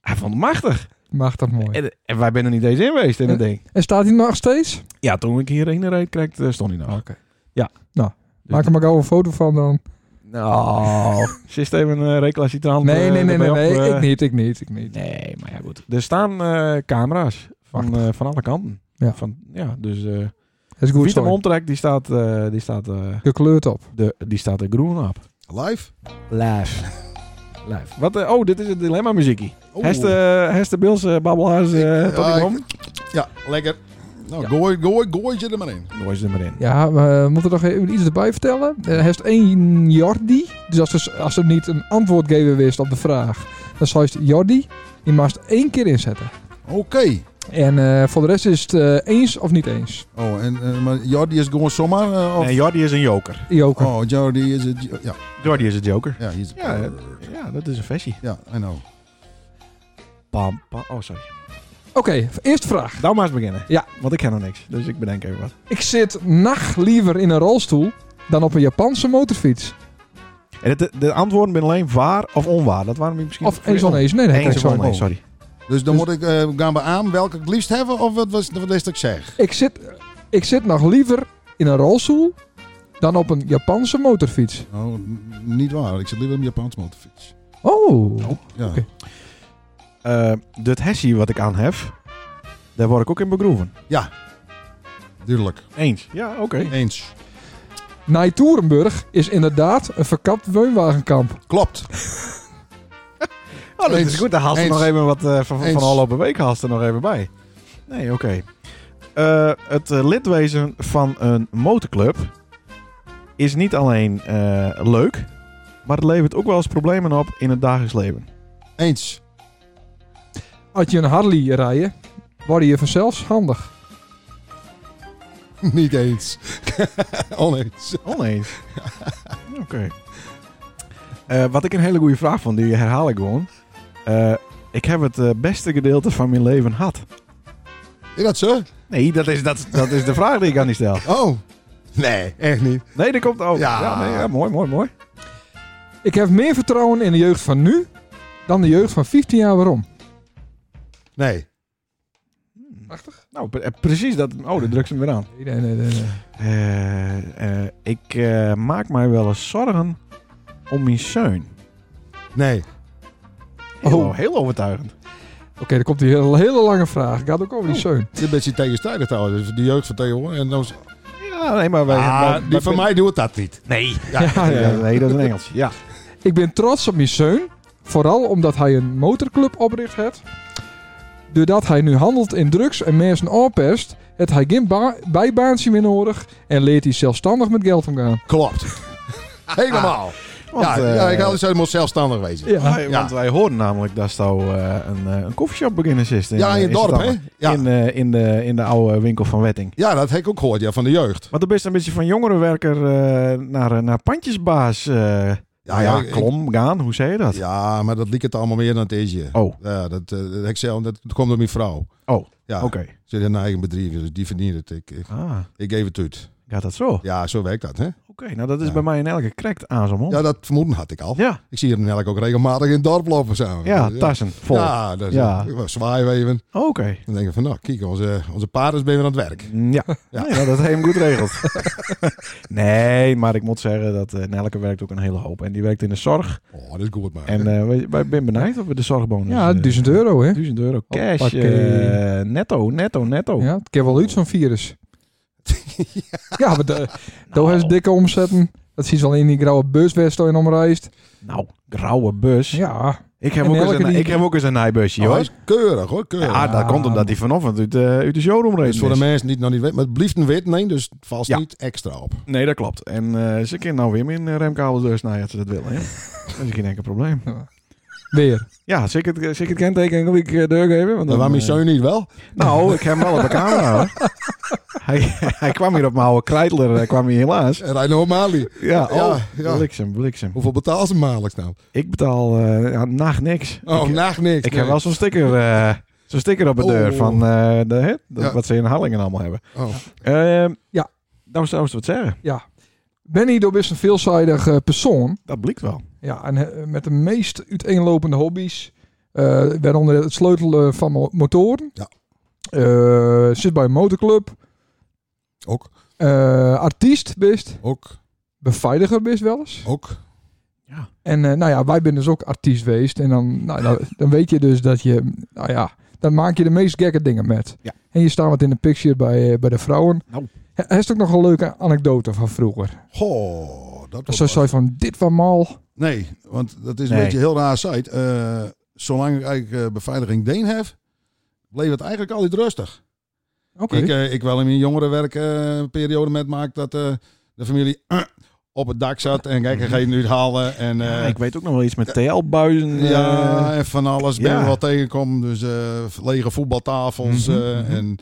[SPEAKER 1] hij vond het machtig.
[SPEAKER 2] Machtig mooi.
[SPEAKER 1] En, en wij zijn er niet eens in geweest in het
[SPEAKER 2] En-
[SPEAKER 1] ding.
[SPEAKER 2] En staat hij nog steeds?
[SPEAKER 1] Ja, toen ik hierheen reed, kreeg, eh, stond hij nog.
[SPEAKER 2] Maak er maar gauw een foto van dan.
[SPEAKER 1] Nou, systeem en uh, reclassitrant.
[SPEAKER 2] Nee, nee, nee, nee, nee. Ik niet, ik niet, ik niet.
[SPEAKER 1] Nee, maar ja, goed. eh. Er staan eh, camera's van, eh, van alle kanten.
[SPEAKER 2] Ja.
[SPEAKER 1] Van, ja dus eh
[SPEAKER 2] Het is goed
[SPEAKER 1] Vitam
[SPEAKER 2] zo.
[SPEAKER 1] Omtrek, die staat, eh, die staat, eh,
[SPEAKER 2] Je kleurt op.
[SPEAKER 1] de, die staat er groen op.
[SPEAKER 3] Live?
[SPEAKER 1] Live. Live. Wat, eh, oh, dit is het dilemma muziekkie.
[SPEAKER 3] Oh.
[SPEAKER 1] Heste, Heste Bils, eh, Babbelhuis, eh, tot
[SPEAKER 3] Ja,
[SPEAKER 1] die
[SPEAKER 3] ik-
[SPEAKER 1] kom.
[SPEAKER 3] Ja, lekker. Nou, gooi, gooi, gooi je er maar in.
[SPEAKER 1] Gooi ze er maar in.
[SPEAKER 2] Ja, we moeten nog even iets erbij vertellen. Er heeft één Jordi. Dus als er, als er niet een antwoord geven wist op de vraag, dan zou je het Jordi. Die mag het één keer inzetten.
[SPEAKER 3] Oké.
[SPEAKER 2] En eh, voor de rest is het eh, eens of niet eens.
[SPEAKER 3] Oh, en eh, maar Jordi is gewoon zomaar? eh, of...
[SPEAKER 1] Nee, Jordi is een joker.
[SPEAKER 2] Joker.
[SPEAKER 3] Oh, Jordi is het... Ja,
[SPEAKER 1] Jordi is een joker.
[SPEAKER 3] ja, hij is...
[SPEAKER 1] Ja, eh, ja dat is een versie.
[SPEAKER 3] Ja, I know.
[SPEAKER 1] Pam, pam. Oh, sorry.
[SPEAKER 2] Oké, eerste vraag.
[SPEAKER 1] Nou maar eens beginnen.
[SPEAKER 2] Ja.
[SPEAKER 1] Want ik ken nog niks, dus ik bedenk even wat.
[SPEAKER 2] Ik zit nacht liever in een rolstoel dan op een Japanse motorfiets.
[SPEAKER 1] En de, de antwoorden zijn alleen waar of onwaar. Dat waren we misschien...
[SPEAKER 2] Of eens oneens. Nee, nee,
[SPEAKER 1] Eens
[SPEAKER 2] kijk
[SPEAKER 1] of
[SPEAKER 2] zo.
[SPEAKER 1] oneens, sorry.
[SPEAKER 3] Dus dan
[SPEAKER 2] Dus-
[SPEAKER 3] moet ik eh, gaan beamen welke ik het liefst hebben of wat, was wat is dat ik zeg?
[SPEAKER 2] Ik zit, ik zit nog liever in een rolstoel dan op een Japanse motorfiets.
[SPEAKER 3] Oh, n- niet waar. Ik zit liever op een Japans motorfiets.
[SPEAKER 2] Oh,
[SPEAKER 3] Ja.
[SPEAKER 2] Oké.
[SPEAKER 1] Eh dat hessie wat ik aan heb, daar word ik ook in begroeven.
[SPEAKER 3] Duidelijk.
[SPEAKER 1] Eens. Ja, oké.
[SPEAKER 3] Eens.
[SPEAKER 2] Nijtoerenburg is inderdaad een verkapt woonwagenkamp.
[SPEAKER 3] Klopt.
[SPEAKER 1] Oh, dat
[SPEAKER 3] Eens.
[SPEAKER 1] is goed. Daar haalt ze
[SPEAKER 3] Eens.
[SPEAKER 1] nog even wat eh, van, van
[SPEAKER 3] Eens.
[SPEAKER 1] afgelopen week haalt ze er nog even bij. Nee, oké. Eh, het eh, lidwezen van een motorclub is niet alleen eh, leuk, maar het levert ook wel eens problemen op in het dagelijks leven.
[SPEAKER 3] Eens.
[SPEAKER 2] Als je een Harley rijdt, word je vanzelf handig.
[SPEAKER 3] niet eens. Oneens.
[SPEAKER 1] Oneens. Oh, oké. Eh, wat ik een hele goede vraag vond, die herhaal ik gewoon. Eh, ik heb het eh, beste gedeelte van mijn leven gehad.
[SPEAKER 3] Is dat zo?
[SPEAKER 1] Nee, dat is, dat, dat is de vraag die ik aan die stel.
[SPEAKER 3] Oh. Nee, echt niet.
[SPEAKER 1] Nee, dat komt ook.
[SPEAKER 3] Ja.
[SPEAKER 1] nee, ja mooi, mooi, mooi.
[SPEAKER 2] Ik heb meer vertrouwen in de jeugd van nu dan de jeugd van 15 jaar waarom.
[SPEAKER 3] Nee.
[SPEAKER 1] Nou, pre- eh, precies dat. Oh, dat drukt ze hem weer aan.
[SPEAKER 2] Nee, nee, nee. nee, nee.
[SPEAKER 1] Eh, eh, ik eh, maak mij wel eens zorgen om mijn zoon.
[SPEAKER 3] Nee.
[SPEAKER 1] Heel,
[SPEAKER 2] Oh.
[SPEAKER 1] heel overtuigend.
[SPEAKER 2] Oké, dan komt die hele, hele lange vraag. Ik had ook over die
[SPEAKER 3] Oh.
[SPEAKER 2] zeun.
[SPEAKER 3] Dit is een beetje tegenstrijdig trouwens. Dus De jeugd van tegenwoordig. En dan is-
[SPEAKER 1] Ja, nee, maar wij... wij-
[SPEAKER 3] ah, die
[SPEAKER 1] wij-
[SPEAKER 3] van mij doet dat niet.
[SPEAKER 1] Nee.
[SPEAKER 3] Ja.
[SPEAKER 2] Ja, ja.
[SPEAKER 1] Ja, nee, dat is een Engels. Ja.
[SPEAKER 2] Ik ben trots op mijn zoon, vooral omdat hij een motorclub opricht heeft. Doordat hij nu handelt in drugs en mensen oppest, heeft hij geen ba- bijbaantje meer nodig en leert hij zelfstandig met geld omgaan.
[SPEAKER 3] Klopt. Helemaal.
[SPEAKER 1] Want,
[SPEAKER 3] ja,
[SPEAKER 1] eh,
[SPEAKER 3] ja, ik had dus moet zelfstandig wezen. Ja,
[SPEAKER 2] Ja,
[SPEAKER 1] wij- Want wij hoorden namelijk dat zou eh, een, eh, een koffieshop beginnen eh, is.
[SPEAKER 3] in het dorp, hè? Ja.
[SPEAKER 1] In, eh, in, de, in de oude winkel van Wetting.
[SPEAKER 3] ja, dat heb ik ook gehoord, ja, van de jeugd.
[SPEAKER 1] Want dan best een beetje van jongerenwerker eh, naar, eh, naar pandjesbaas eh,
[SPEAKER 3] Ja,
[SPEAKER 1] ja,
[SPEAKER 3] ik-
[SPEAKER 1] klom gaan. Hoe zei je dat?
[SPEAKER 3] Ja, maar dat liep het allemaal meer dan het is je.
[SPEAKER 1] Oh,
[SPEAKER 3] Ja, dat, eh, dat, ik zelf, dat komt door mijn vrouw.
[SPEAKER 1] Oh,
[SPEAKER 3] ja.
[SPEAKER 1] oké.
[SPEAKER 3] Ze heeft een eigen bedrijf, dus die verdient het. Ik, ik,
[SPEAKER 1] Ah,
[SPEAKER 3] ik geef het uit.
[SPEAKER 1] gaat dat zo?
[SPEAKER 3] Ja, zo werkt dat, hè?
[SPEAKER 1] Oké, nou dat is
[SPEAKER 3] Ja.
[SPEAKER 1] bij mij in elke krekt aan zo'n mond.
[SPEAKER 3] Ja, dat vermoeden had ik al.
[SPEAKER 1] Ja,
[SPEAKER 3] Ik zie hier in elk ook regelmatig in het dorp lopen samen.
[SPEAKER 1] ja, tassen vol.
[SPEAKER 3] Ja, dus,
[SPEAKER 1] Ja.
[SPEAKER 3] eh, zwaaien we even.
[SPEAKER 1] Oké.
[SPEAKER 3] Dan denk ik van, nou, kijk, onze, onze paard is bij weer aan het werk.
[SPEAKER 1] Mm, Ja,
[SPEAKER 3] Ja.
[SPEAKER 1] Nee, nou, dat heeft hem goed regeld. nee, maar ik moet zeggen dat eh, Nelke werkt ook een hele hoop. En die werkt in de zorg.
[SPEAKER 3] Oh, dat is goed, maar.
[SPEAKER 1] En eh, wij- wij ben benijd of we de zorgbonus...
[SPEAKER 2] ja
[SPEAKER 1] eh,
[SPEAKER 2] 1000 euro hè.
[SPEAKER 1] 1000 euro cash.
[SPEAKER 2] Hoppakee.
[SPEAKER 1] eh, oh. netto, netto, netto.
[SPEAKER 2] Ja, het kan wel uit zo'n virus. ja, maar de,
[SPEAKER 1] Nou,
[SPEAKER 2] daar is dikke omzetten. Dat zie je wel in die grauwe buswest waar je omreist.
[SPEAKER 1] Nou, grauwe bus.
[SPEAKER 2] Ja,
[SPEAKER 1] Ik, heb
[SPEAKER 2] En
[SPEAKER 1] ook eens
[SPEAKER 2] Nelke
[SPEAKER 1] een,
[SPEAKER 2] die-
[SPEAKER 1] ik heb ook eens een nijbusje,
[SPEAKER 3] Oh, hij
[SPEAKER 1] hoor.
[SPEAKER 3] is keurig, hoor, keurig.
[SPEAKER 1] Ja, dat komt omdat hij vanochtend uit, eh, uit de showroom reed.
[SPEAKER 3] dus voor de mensen die het nog niet weten, maar het blieft een wit, nee, dus het valt
[SPEAKER 1] Ja.
[SPEAKER 3] niet extra op.
[SPEAKER 1] Nee, dat klopt.
[SPEAKER 3] dus, nou
[SPEAKER 1] En eh, ze kunnen nou weer mijn eh, remkabels doorsnijden als ze dat willen. Hè? dat is geen enkel probleem.
[SPEAKER 2] Weer.
[SPEAKER 1] Ja, als ik het, als ik het kenteken wil ik eh, doorgeven. Want
[SPEAKER 3] Dan
[SPEAKER 1] dan,
[SPEAKER 3] waarom is
[SPEAKER 1] eh,
[SPEAKER 3] Seun niet wel?
[SPEAKER 1] Nou, ik heb hem wel op de camera. hoor. hij, hij kwam hier op mijn oude krijtler, hij kwam hier helaas.
[SPEAKER 3] Rijn nou op Mali.
[SPEAKER 1] Ja, oh,
[SPEAKER 3] Ja, ja.
[SPEAKER 1] bliksem, bliksem.
[SPEAKER 3] Hoeveel betaal ze hem maandelijks nou?
[SPEAKER 1] Ik betaal eh ja, nacht niks.
[SPEAKER 3] Oh,
[SPEAKER 1] ik,
[SPEAKER 3] nacht niks.
[SPEAKER 1] ik
[SPEAKER 3] nee.
[SPEAKER 1] heb wel zo'n sticker, eh, zo'n sticker op de
[SPEAKER 3] Oh.
[SPEAKER 1] deur van eh, de, hè, de-
[SPEAKER 3] Ja.
[SPEAKER 1] wat ze in Hallingen allemaal hebben.
[SPEAKER 3] Oh.
[SPEAKER 1] Ehm,
[SPEAKER 2] Ja.
[SPEAKER 1] Nou, zou ze wat zeggen.
[SPEAKER 2] Benny, dat is een veelzijdig eh, persoon.
[SPEAKER 1] Dat blikt wel.
[SPEAKER 2] Ja, en eh, met de meest uiteenlopende hobby's. Eh, waaronder het sleutelen van mo- motoren.
[SPEAKER 3] Ja.
[SPEAKER 2] Eh, zit bij een motorclub.
[SPEAKER 3] Ook,
[SPEAKER 2] Eh, artiest best.
[SPEAKER 3] ook,
[SPEAKER 2] Beveiliger best wel eens.
[SPEAKER 3] ook.
[SPEAKER 2] En eh, nou ja, wij zijn dus ook artiest geweest. En dan, nou, dan, dan weet je dus dat je... Nou ja, dan maak je de meest gekke dingen met.
[SPEAKER 1] Ja.
[SPEAKER 2] En je staat wat in de picture bij, eh, bij de vrouwen.
[SPEAKER 1] Nou.
[SPEAKER 2] Hij heeft ook nog een leuke anekdote van vroeger.
[SPEAKER 3] Goh, dat wordt
[SPEAKER 2] Dat zo
[SPEAKER 3] wat.
[SPEAKER 2] zei van, dit was mal.
[SPEAKER 3] Nee, want dat is een
[SPEAKER 1] Nee.
[SPEAKER 3] beetje heel raar site. Eh, zolang ik eigenlijk eh, beveiliging Deen heb, bleef het eigenlijk altijd rustig.
[SPEAKER 2] Oké.
[SPEAKER 3] Ik, eh, ik wel in mijn jongerenwerkperiode met maak dat eh, de familie eh, op het dak zat en kijk, hij gaat nu halen en
[SPEAKER 1] Ja,
[SPEAKER 3] eh,
[SPEAKER 1] ik weet ook nog wel iets met TL-buizen. eh,
[SPEAKER 3] ja, en van alles ben
[SPEAKER 1] ja.
[SPEAKER 3] je wel tegenkomen. Dus eh, lege voetbaltafels
[SPEAKER 1] Mhm,
[SPEAKER 3] eh, en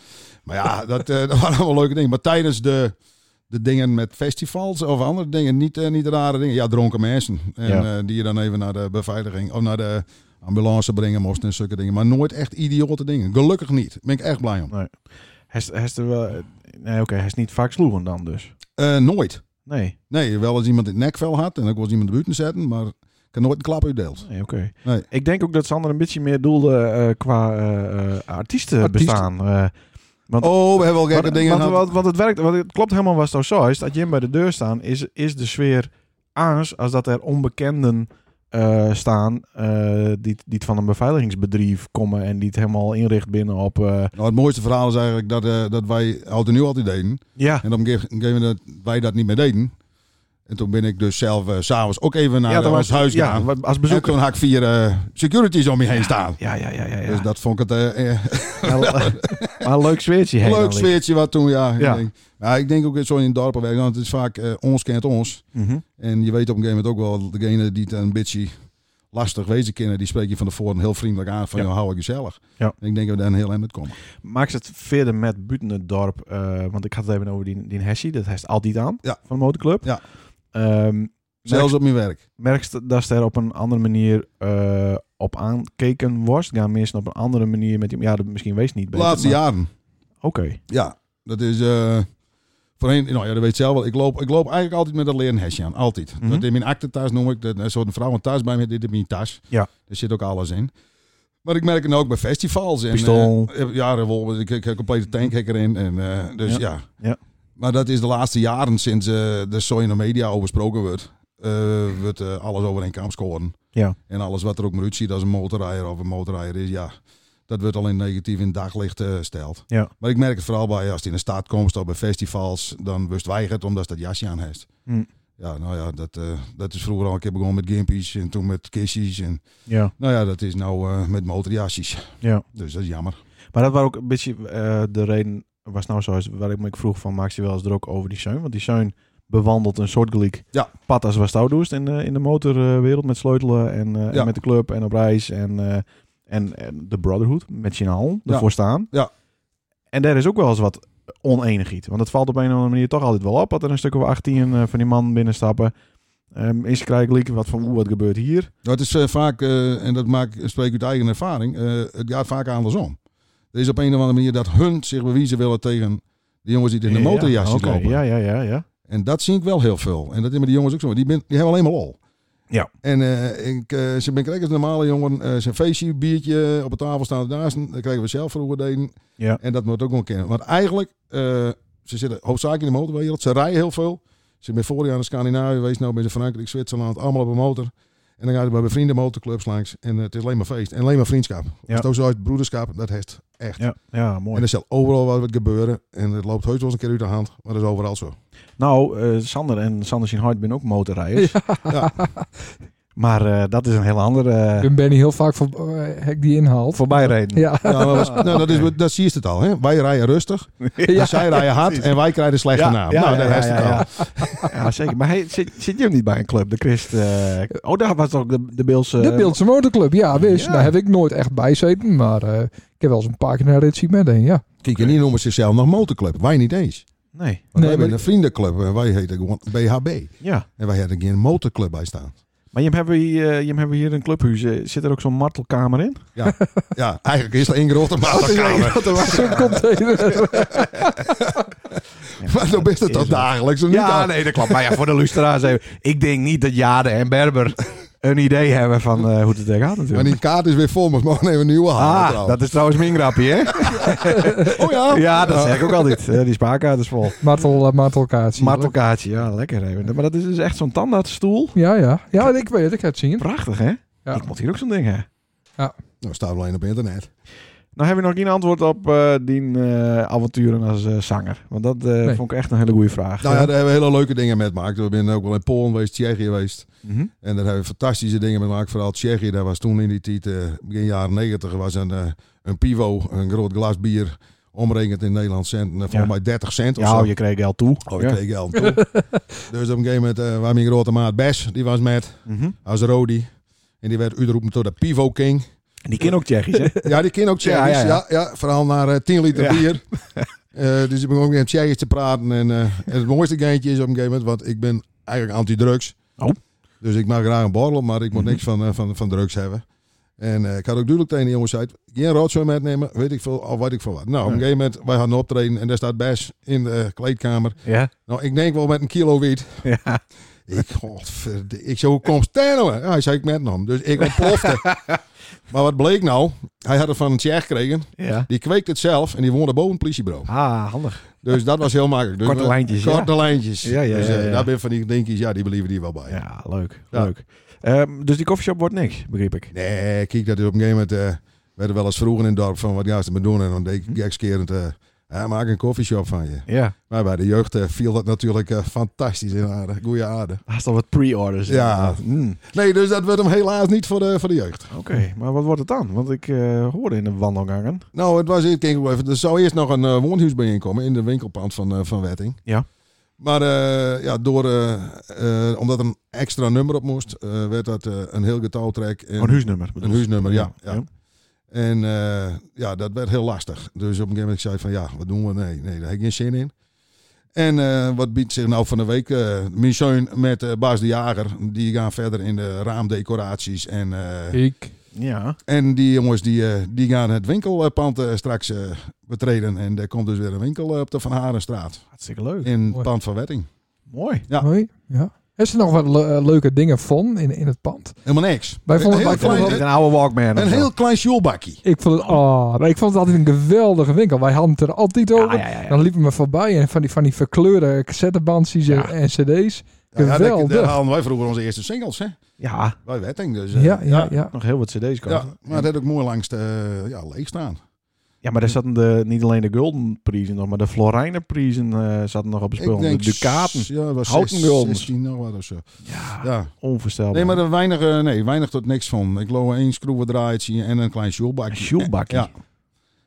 [SPEAKER 3] maar ja, dat, eh, dat waren allemaal leuke dingen. Maar tijdens de de dingen met festivals of andere dingen, niet, eh, niet rare dingen. Ja, dronken mensen. En,
[SPEAKER 1] Ja.
[SPEAKER 3] eh, die je dan even naar de beveiliging of naar de ambulance brengen moest en zulke dingen. Maar nooit echt idiote dingen. Gelukkig niet. Daar ben ik echt blij om.
[SPEAKER 1] Hij is- hij is er wel... Nee, oké, hij is niet vaak sloegen dan dus.
[SPEAKER 3] Eh, nooit.
[SPEAKER 1] Nee,
[SPEAKER 3] Nee, wel als iemand in het nekvel had en ook wel eens iemand de buiten zetten, maar ik kan nooit een klap uitdeeld.
[SPEAKER 1] nee oké.
[SPEAKER 3] Nee.
[SPEAKER 1] Ik denk ook dat Sander een beetje meer doelde eh, qua eh, eh, artiesten bestaan. Eh,
[SPEAKER 3] Oh, we hebben wel gekke
[SPEAKER 1] want,
[SPEAKER 3] dingen
[SPEAKER 1] want,
[SPEAKER 3] gehad.
[SPEAKER 1] want, want het werkt, want het klopt helemaal wat het zo is. Dat je hem bij de deur staan, is, is de sfeer aans als dat er onbekenden eh, staan eh, die, die het van een beveiligingsbedrijf komen en die het helemaal inricht binnen op... eh,
[SPEAKER 3] Nou, het mooiste verhaal is eigenlijk dat, eh, dat wij oud en nieuw altijd deden.
[SPEAKER 1] ja,
[SPEAKER 3] En op een gegeven moment dat wij dat niet meer deden. En toen ben ik dus zelf eh, s s'avonds ook even naar eh,
[SPEAKER 1] dan
[SPEAKER 3] ons huis gegaan.
[SPEAKER 1] Ja, als
[SPEAKER 3] En
[SPEAKER 1] bezoeker.
[SPEAKER 3] toen had ik vier eh, securities om je heen staan.
[SPEAKER 1] Ja, ja, ja, ja. ja.
[SPEAKER 3] Dus dat vond ik het eh, eh,
[SPEAKER 1] Ja, wel- maar een leuk sfeertje.
[SPEAKER 3] een
[SPEAKER 1] heen
[SPEAKER 3] leuk
[SPEAKER 1] dan
[SPEAKER 3] sfeertje wat toen, ja.
[SPEAKER 1] Ja.
[SPEAKER 3] Ik, denk, ja, ik denk ook dat zo in dorpen werken, want het is vaak eh, ons kent ons.
[SPEAKER 1] liggen. Mhm.
[SPEAKER 3] En je weet op een gegeven moment ook wel, dat degene die het een beetje lastig wezen kennen, die spreek je van tevoren heel vriendelijk aan van,
[SPEAKER 1] Ja.
[SPEAKER 3] joh, hou ik gezellig.
[SPEAKER 1] Ja.
[SPEAKER 3] En ik denk dat we daar een heel eind met komen.
[SPEAKER 1] Maak ze het verder met buiten het dorp. eh, want ik had het even over die, die Hessie. Dat heeft altijd aan.
[SPEAKER 3] Ja.
[SPEAKER 1] Van de motorclub.
[SPEAKER 3] Ja.
[SPEAKER 1] Ehm,
[SPEAKER 3] Zelfs op mijn werk.
[SPEAKER 1] merkst dat ze er op een andere manier eh, op aankeken was. Gaan mensen op een andere manier met die... Ja, dat misschien wees niet
[SPEAKER 3] De
[SPEAKER 1] beter.
[SPEAKER 3] laatste
[SPEAKER 1] maar-
[SPEAKER 3] jaren.
[SPEAKER 1] Oké.
[SPEAKER 3] Ja, dat is. eh voorheen, nou ja, dat weet je zelf wel. Ik loop, ik loop eigenlijk altijd met dat leren hesje aan. Altijd.
[SPEAKER 1] Mhm.
[SPEAKER 3] Dat in mijn actentas noem ik. Dat, een soort vrouw een tas bij me. Dit in mijn tas.
[SPEAKER 1] Ja.
[SPEAKER 3] Daar zit ook alles in. Maar ik merk het nou ook bij festivals. En,
[SPEAKER 1] Pistool.
[SPEAKER 3] eh, ja, revolver. Ik heb een complete tank heb ik erin. En, eh, dus
[SPEAKER 1] Ja.
[SPEAKER 3] ja.
[SPEAKER 1] Ja.
[SPEAKER 3] Maar dat is de laatste jaren sinds eh de Sony media over gesproken wordt. eh, wordt eh, alles over één kam scoren.
[SPEAKER 1] Ja.
[SPEAKER 3] En alles wat er ook maar uitziet als een motorrijder of een motorrijder is. Ja, dat wordt alleen negatief in het daglicht eh stelt.
[SPEAKER 1] Ja.
[SPEAKER 3] Maar ik merk het vooral bij als hij in de staat komt of bij festivals, dan wist weigert omdat ze dat jasje aan heeft.
[SPEAKER 1] Hm.
[SPEAKER 3] Ja, nou ja, dat, eh, dat is vroeger al een keer begonnen met gimpies en toen met kistjes. En
[SPEAKER 1] Ja.
[SPEAKER 3] nou ja, dat is nou eh, met motorjasjes.
[SPEAKER 1] ja.
[SPEAKER 3] Dus dat is jammer.
[SPEAKER 1] Maar dat was ook een beetje eh, de reden... Was nou zo is waar ik me ik vroeg van... Maak je wel eens druk over die Seun? Want die Seun bewandelt een soort gelijk
[SPEAKER 3] Ja.
[SPEAKER 1] pad als was het doest in de, in de motorwereld. Met sleutelen en, eh, en
[SPEAKER 3] Ja.
[SPEAKER 1] met de club en op reis. En, eh, en, en de brotherhood met z'n allen
[SPEAKER 3] Ja.
[SPEAKER 1] ervoor staan.
[SPEAKER 3] Ja.
[SPEAKER 1] En daar is ook wel eens wat oneenigheid. Want het valt op een of andere manier toch altijd wel op... dat er een stuk of 18 eh, van die man binnenstappen... Ehm is krijg ik wat van, oeh, wat gebeurt hier?
[SPEAKER 3] Dat is eh, vaak, eh, en dat maak, spreek uit eigen ervaring, eh, het gaat vaak andersom. Er is op een of andere manier dat hun zich bewijzen willen tegen de jongens die het in de motorjasjes
[SPEAKER 1] ja, oké.
[SPEAKER 3] lopen.
[SPEAKER 1] Ja, ja, ja, ja.
[SPEAKER 3] En dat zie ik wel heel veel. En dat hebben die jongens ook zo. Die, ben- die hebben alleen maar lol.
[SPEAKER 1] Ja.
[SPEAKER 3] En eh, ik, eh, ze ben krijgen als normale jongen eh, zijn feestje, biertje op de tafel staan daarnaast. Dat kregen we zelf vroeger deden.
[SPEAKER 1] Ja.
[SPEAKER 3] En dat moet ook wel kennen. Want eigenlijk, eh, ze zitten hoofdzakelijk in de motorwereld. Ze rijden heel veel. Ze zijn vorig jaar naar Scandinavië geweest, nou bij ze Frankrijk, Zwitserland, allemaal op een motor. En dan gaan ze bij mijn vrienden motorclubs langs. En eh, het is alleen maar feest. En alleen maar vriendschap.
[SPEAKER 1] Ja.
[SPEAKER 3] Als het ook zo uit broederschap, dat heeft echt.
[SPEAKER 1] Ja, ja
[SPEAKER 3] En
[SPEAKER 1] mooi.
[SPEAKER 3] er zal overal wat gebeuren. En het loopt heus wel eens een keer uit de hand. Maar dat is overal zo.
[SPEAKER 1] Nou, eh, Sander en Sander zijn Hart zijn ook motorrijders.
[SPEAKER 3] Ja.
[SPEAKER 1] Maar eh, dat is een heel andere eh,
[SPEAKER 2] Ik ben heel vaak voor eh, hek die inhaalt.
[SPEAKER 1] voorbijreden.
[SPEAKER 2] Ja.
[SPEAKER 3] Ja, maar was- nou, dat, is, dat zie je het al. Hè? Wij rijden rustig,
[SPEAKER 2] Ja.
[SPEAKER 3] zij rijden hard en wij krijgen de slechte naam. nou, daar heeft het al.
[SPEAKER 1] ja. Ja, zeker. Maar hij, zit, zit je hem niet bij een club? De Christ... eh, oh, daar was ook de, eh, de Beelse...
[SPEAKER 2] De Beeldse Motorclub, ja, wist.
[SPEAKER 1] Ja.
[SPEAKER 2] Daar heb ik nooit echt bij zitten, maar eh, ik heb wel eens een paar keer naar Ritsie met een, ja.
[SPEAKER 3] Kijk, en die noemen zichzelf nog motorclub. Wij niet eens.
[SPEAKER 1] Nee.
[SPEAKER 3] Want
[SPEAKER 2] Nee,
[SPEAKER 3] wij
[SPEAKER 2] maar-
[SPEAKER 3] zijn een vriendenclub en wij heten gewoon BHB.
[SPEAKER 1] Ja.
[SPEAKER 3] En wij hadden geen motorclub bij staan.
[SPEAKER 1] Maar je hebben we hier, eh, Jim, hebben we hier een clubhuis. eh, Zit er ook zo'n martelkamer in?
[SPEAKER 3] Ja, eigenlijk is er één grote maatkamer.
[SPEAKER 2] Zo'n container.
[SPEAKER 3] Maar zo is het toch
[SPEAKER 1] Is wel.
[SPEAKER 3] dagelijks? of niet
[SPEAKER 1] Ja,
[SPEAKER 3] dan?
[SPEAKER 1] nee, dat klopt. Maar ja, voor de luisteraars even. Ik denk niet dat Jade en Berber een idee hebben van eh, hoe het er gaat
[SPEAKER 3] Maar
[SPEAKER 1] natuurlijk.
[SPEAKER 3] die kaart is weer vol, maar we mogen even een nieuwe halen.
[SPEAKER 1] Ah,
[SPEAKER 3] trouwens.
[SPEAKER 1] dat is trouwens mijn grapje, hè?
[SPEAKER 3] Oh ja?
[SPEAKER 1] Ja, dat zeg ik ook altijd. Eh, die spaarkaart is vol.
[SPEAKER 2] Martel, eh, martelkaartje.
[SPEAKER 1] Martelkaartje, ja, lekker even. Maar dat is dus echt zo'n tandartsstoel.
[SPEAKER 2] Ja, ja. Ja, ik weet het, ik heb het zien.
[SPEAKER 1] Prachtig, hè?
[SPEAKER 2] Ja.
[SPEAKER 1] Ik moet hier ook zo'n ding hebben.
[SPEAKER 3] Nou, staat alleen op internet.
[SPEAKER 1] Nou, heb je nog geen antwoord op eh, die eh, avonturen als eh, zanger? Want dat eh,
[SPEAKER 2] Nee.
[SPEAKER 1] vond ik echt een hele goede vraag.
[SPEAKER 3] Nou ja, daar hebben we hele leuke dingen mee gemaakt. We zijn ook wel in Polen geweest, Tsjechië geweest.
[SPEAKER 1] Mhm.
[SPEAKER 3] En daar hebben we fantastische dingen mee gemaakt. Vooral Tsjechië, daar was toen in die tijd, eh, begin jaren negentig, was een, eh, een pivo, een groot glas bier, omrekend in Nederland cent. eh, Volgens
[SPEAKER 1] Ja.
[SPEAKER 3] mij 30 cent of
[SPEAKER 1] Ja,
[SPEAKER 3] zo.
[SPEAKER 1] oh, je kreeg geld toe.
[SPEAKER 3] Oh, ik
[SPEAKER 1] ja.
[SPEAKER 3] kreeg geld toe. dus op een gegeven moment eh waren mijn grote maat Bes, die was met,
[SPEAKER 1] Mhm.
[SPEAKER 3] als Rodi. En die werd uitgeroepen tot de Pivo King.
[SPEAKER 1] En die kind ook Tsjechisch, hè?
[SPEAKER 3] Ja, die kind ook Tsjechisch.
[SPEAKER 1] Ja,
[SPEAKER 3] Ja,
[SPEAKER 1] ja,
[SPEAKER 3] ja,
[SPEAKER 1] ja.
[SPEAKER 3] vooral naar eh, 10 liter
[SPEAKER 1] Ja.
[SPEAKER 3] bier. Eh, dus ik begon ook in het Tsjechisch te praten. En, eh, en het mooiste geintje is op een gegeven moment, want ik ben eigenlijk anti-drugs.
[SPEAKER 1] Oh. Mhm.
[SPEAKER 3] Dus ik mag graag een borrel, maar ik moet niks van, eh, van, van drugs hebben. En eh, ik had ook duidelijk tegen de jongens uit, geen rotzooi metnemen, weet ik veel, of weet ik veel wat. Nou, op een
[SPEAKER 1] Ja.
[SPEAKER 3] gegeven moment, wij gaan optreden en daar staat Bes in de kleedkamer.
[SPEAKER 1] Ja.
[SPEAKER 3] Nou, ik denk wel met een kilo wiet.
[SPEAKER 1] ja.
[SPEAKER 3] Ik, godverde- ik zei, hoe komt het daar nou? Ja, hij zei, ik met hem. Dus ik ontplofte. maar wat bleek nou? Hij had het van een Tsjech gekregen.
[SPEAKER 1] Ja.
[SPEAKER 3] Die kweekte het zelf en die woonde boven het politiebureau.
[SPEAKER 1] Ah, handig.
[SPEAKER 3] Dus dat was heel makkelijk. Dus
[SPEAKER 1] Korte
[SPEAKER 3] we-
[SPEAKER 1] lijntjes, ja.
[SPEAKER 3] Korte lijntjes.
[SPEAKER 1] Ja, ja,
[SPEAKER 3] dus, eh,
[SPEAKER 1] ja, ja.
[SPEAKER 3] Daar ben van die dingetjes, ja, die believen die wel bij.
[SPEAKER 1] Ja, leuk.
[SPEAKER 3] Ja.
[SPEAKER 1] leuk. Ehm, dus die koffieshop wordt niks, begreep ik.
[SPEAKER 3] Nee, kijk, dat is op een gegeven moment... eh werden wel eens vroegen in het dorp van, wat ga je me doen? En dan deed ik gekskerend, eh, ja, maak een koffieshop van je.
[SPEAKER 1] Ja.
[SPEAKER 3] Maar bij de jeugd eh, viel dat natuurlijk eh, fantastisch in aarde. Goeie aarde.
[SPEAKER 1] Haast al wat pre-orders.
[SPEAKER 3] Ja.
[SPEAKER 1] inderdaad. Mm.
[SPEAKER 3] Nee, dus dat werd hem helaas niet voor de, voor de jeugd.
[SPEAKER 1] Oké, maar wat wordt het dan? Want ik eh, hoorde in de wandelgangen.
[SPEAKER 3] Nou, het was ik denk wel even. Er zou eerst nog een eh, woonhuis bijeenkomen in de winkelpand van, eh, van Wetting.
[SPEAKER 1] Ja.
[SPEAKER 3] Maar eh, ja, door, eh, eh, omdat er een extra nummer op moest, eh, werd dat eh, een heel getouwtrek. En,
[SPEAKER 1] Oh, een huisnummer. bedoel
[SPEAKER 3] een
[SPEAKER 1] je?
[SPEAKER 3] huisnummer, ja, ja. en eh, ja, dat werd heel lastig. Dus op een gegeven moment zei ik van ja, wat doen we? Nee, nee daar heb ik geen zin in. En eh, wat biedt zich nou van de week? eh Micheun met eh, Bas de Jager. Die gaan verder in de raamdecoraties en eh,
[SPEAKER 2] Ik.
[SPEAKER 1] Ja.
[SPEAKER 3] en die jongens die, eh, die gaan het winkelpand eh, straks eh, betreden. En daar komt dus weer een winkel eh, op de Van Harenstraat.
[SPEAKER 1] Hartstikke leuk.
[SPEAKER 3] In het
[SPEAKER 2] Mooi.
[SPEAKER 3] pand van Wetting.
[SPEAKER 1] Mooi.
[SPEAKER 3] Ja.
[SPEAKER 2] Hoi. Ja. Is er nog wat le- eh, leuke dingen van in, in het pand?
[SPEAKER 3] Helemaal niks.
[SPEAKER 2] Wij vonden-
[SPEAKER 3] een
[SPEAKER 2] wij
[SPEAKER 3] heel
[SPEAKER 2] vonden
[SPEAKER 3] klein,
[SPEAKER 1] Dit is een oude Walkman. of
[SPEAKER 3] een
[SPEAKER 1] zo.
[SPEAKER 3] heel klein sjoelbakkie.
[SPEAKER 2] Ik vond het, ah, maar ik vond het altijd een geweldige winkel. Wij hadden het er altijd over.
[SPEAKER 1] ja, ja, ja.
[SPEAKER 2] Dan liepen we voorbij en van die, van die verkleurde cassettebandjes en- en cd's.
[SPEAKER 3] Ja, daar,
[SPEAKER 2] Geweldig.
[SPEAKER 3] daar haalden wij vroeger onze eerste singles. Hè?
[SPEAKER 1] Ja,
[SPEAKER 3] Bij Wetting dus. eh,
[SPEAKER 2] Ja, ja, ja.
[SPEAKER 1] nog heel wat cd's
[SPEAKER 3] ja.
[SPEAKER 1] komen.
[SPEAKER 3] maar dat had ook mooi langs de, eh, ja, leeg staan.
[SPEAKER 1] Ja, maar daar zaten de, niet alleen de Golden prijzen nog, maar de Florijnen prijzen eh, zaten nog op het spul. De Ducaten.
[SPEAKER 3] Ja, dat was
[SPEAKER 1] Houten Ah,
[SPEAKER 3] 16,
[SPEAKER 1] guldens.
[SPEAKER 3] 16 nog wat of zo.
[SPEAKER 1] Ja,
[SPEAKER 3] Ja.
[SPEAKER 1] onvoorstelbaar.
[SPEAKER 3] Nee, maar er weinig, eh, nee, weinig tot niks van. Ik loop één schroevendraaitje en een klein
[SPEAKER 1] Een
[SPEAKER 3] sjoelbakkie.
[SPEAKER 1] sjoelbakkie.
[SPEAKER 3] Ja.